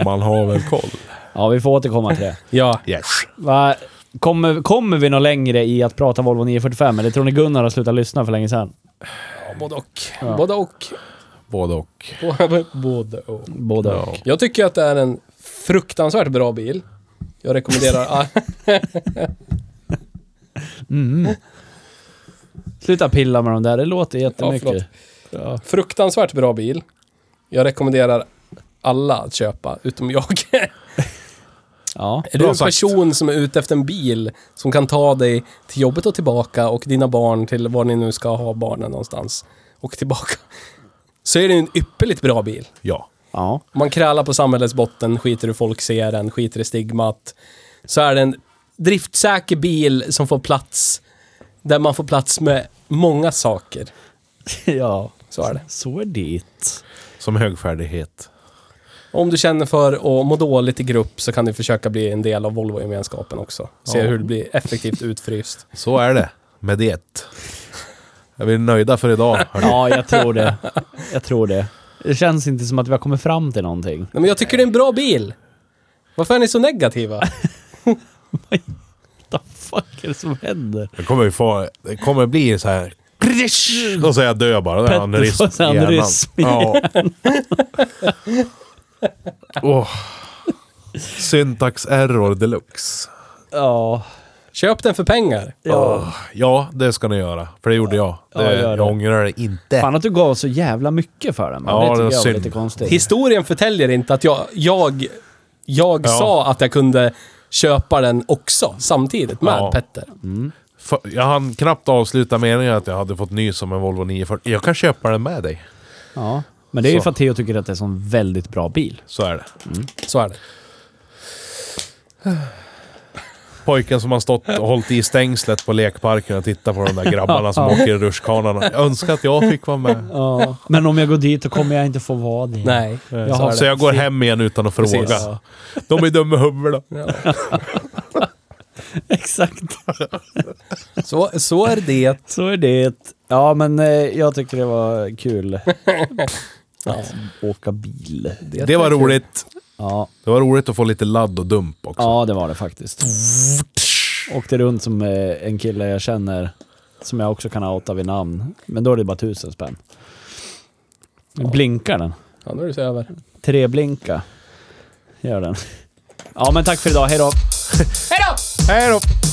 A: Man har väl koll.
B: [laughs] Ja, vi får återkomma till det.
C: Ja,
A: Yes.
B: Va? Kommer, kommer vi något längre i att prata Volvo 945 eller tror ni Gunnar har slutat lyssna för länge sedan?
C: ja både och.
B: Ja.
C: Både och.
A: Både och.
C: [laughs] både och.
B: Både
A: Ja.
B: och.
C: Jag tycker att det är en fruktansvärt bra bil. Jag rekommenderar... ah, [laughs]
B: Mm. Sluta pilla med de där, det låter jättemycket. Ja,
C: fruktansvärt bra bil. Jag rekommenderar alla att köpa, utom jag.
B: ja.
C: Är du en
A: sagt.
C: person som är ute efter en bil som kan ta dig till jobbet och tillbaka och dina barn till var ni nu ska ha barnen någonstans och tillbaka. Så är det en ypperligt bra bil.
A: Ja.
B: ja.
C: Man krälar på samhällets botten, skiter hur folk ser den, skiter i stigmat. Så är det en driftsäker bil som får plats, där man får plats med många saker.
B: [laughs] ja.
C: Så är det.
B: Så är det.
A: Som högfärdighet.
C: Om du känner för att må dåligt i grupp så kan du försöka bli en del av Volvo-gemenskapen också. Se
A: Ja.
C: hur du blir effektivt utfryst.
A: Så är det. Med det. Är vi nöjda för idag? hörni?
B: Ja, jag tror det. Jag tror det. Det känns inte som att vi har kommit fram till någonting.
C: Nej, men jag tycker det är en bra bil. Varför är ni så negativa?
B: What the fuck är det som händer?
A: Det kommer ju få... Det kommer bli så här... Och så är jag död bara. Då är han
B: Petter
A: risp
B: får sig
A: i
B: en
A: hjärnan.
B: risp i
A: Ja. Åh. Syntax error deluxe.
B: Ja.
C: Köp den för pengar.
B: ja.
A: Åh, Ja, det ska ni göra. För det gjorde jag.
B: Ja,
A: Det,
B: gör det.
A: jag ångrar det inte.
B: Fan att du gav så jävla mycket för den. men
A: Ja,
B: det tycker
A: det var
B: jag var
A: synd.
B: lite konstigt.
C: Historien förtäljer inte att jag, jag, jag
A: Ja.
C: sa att jag kunde köpa den också samtidigt med
A: Ja.
C: Petter.
A: F- Jag hann knappt avsluta meningen att jag hade fått nys om en Volvo 940. Jag kan köpa den med dig.
B: Ja. Men det är ju
A: Så.
B: för att Theo tycker att det är en sån väldigt bra bil.
A: Så är det.
C: Så är det.
A: Pojken som har stått och hållit i stängslet på lekparken och tittat på de där grabbarna
B: [laughs]
A: som åker i rutschkanorna. Jag önskar att jag fick vara med.
B: Ja. Men om jag går dit då kommer jag inte få vara det.
C: Nej.
B: Jag har
A: Så jag går hem igen utan att fråga.
C: Precis. Ja.
A: De är dumma i huvudet.
B: [laughs] Exakt.
C: Så, så är det.
B: Så är det. Ja, men eh, jag tycker det var kul.
C: Ja.
B: Åka bil.
A: Det var roligt.
B: Ja,
A: Det var roligt att få lite ladd och dump också.
B: ja det var det faktiskt. Åkte runt som eh, en kille jag känner, som jag också kan outa vid namn. Men då är det bara tusen spänn. Nu blinkar den.
C: Ja, nu är det så över.
B: Treblinka. Gör den. Ja, men tack för idag. Hej då!
A: Hej då!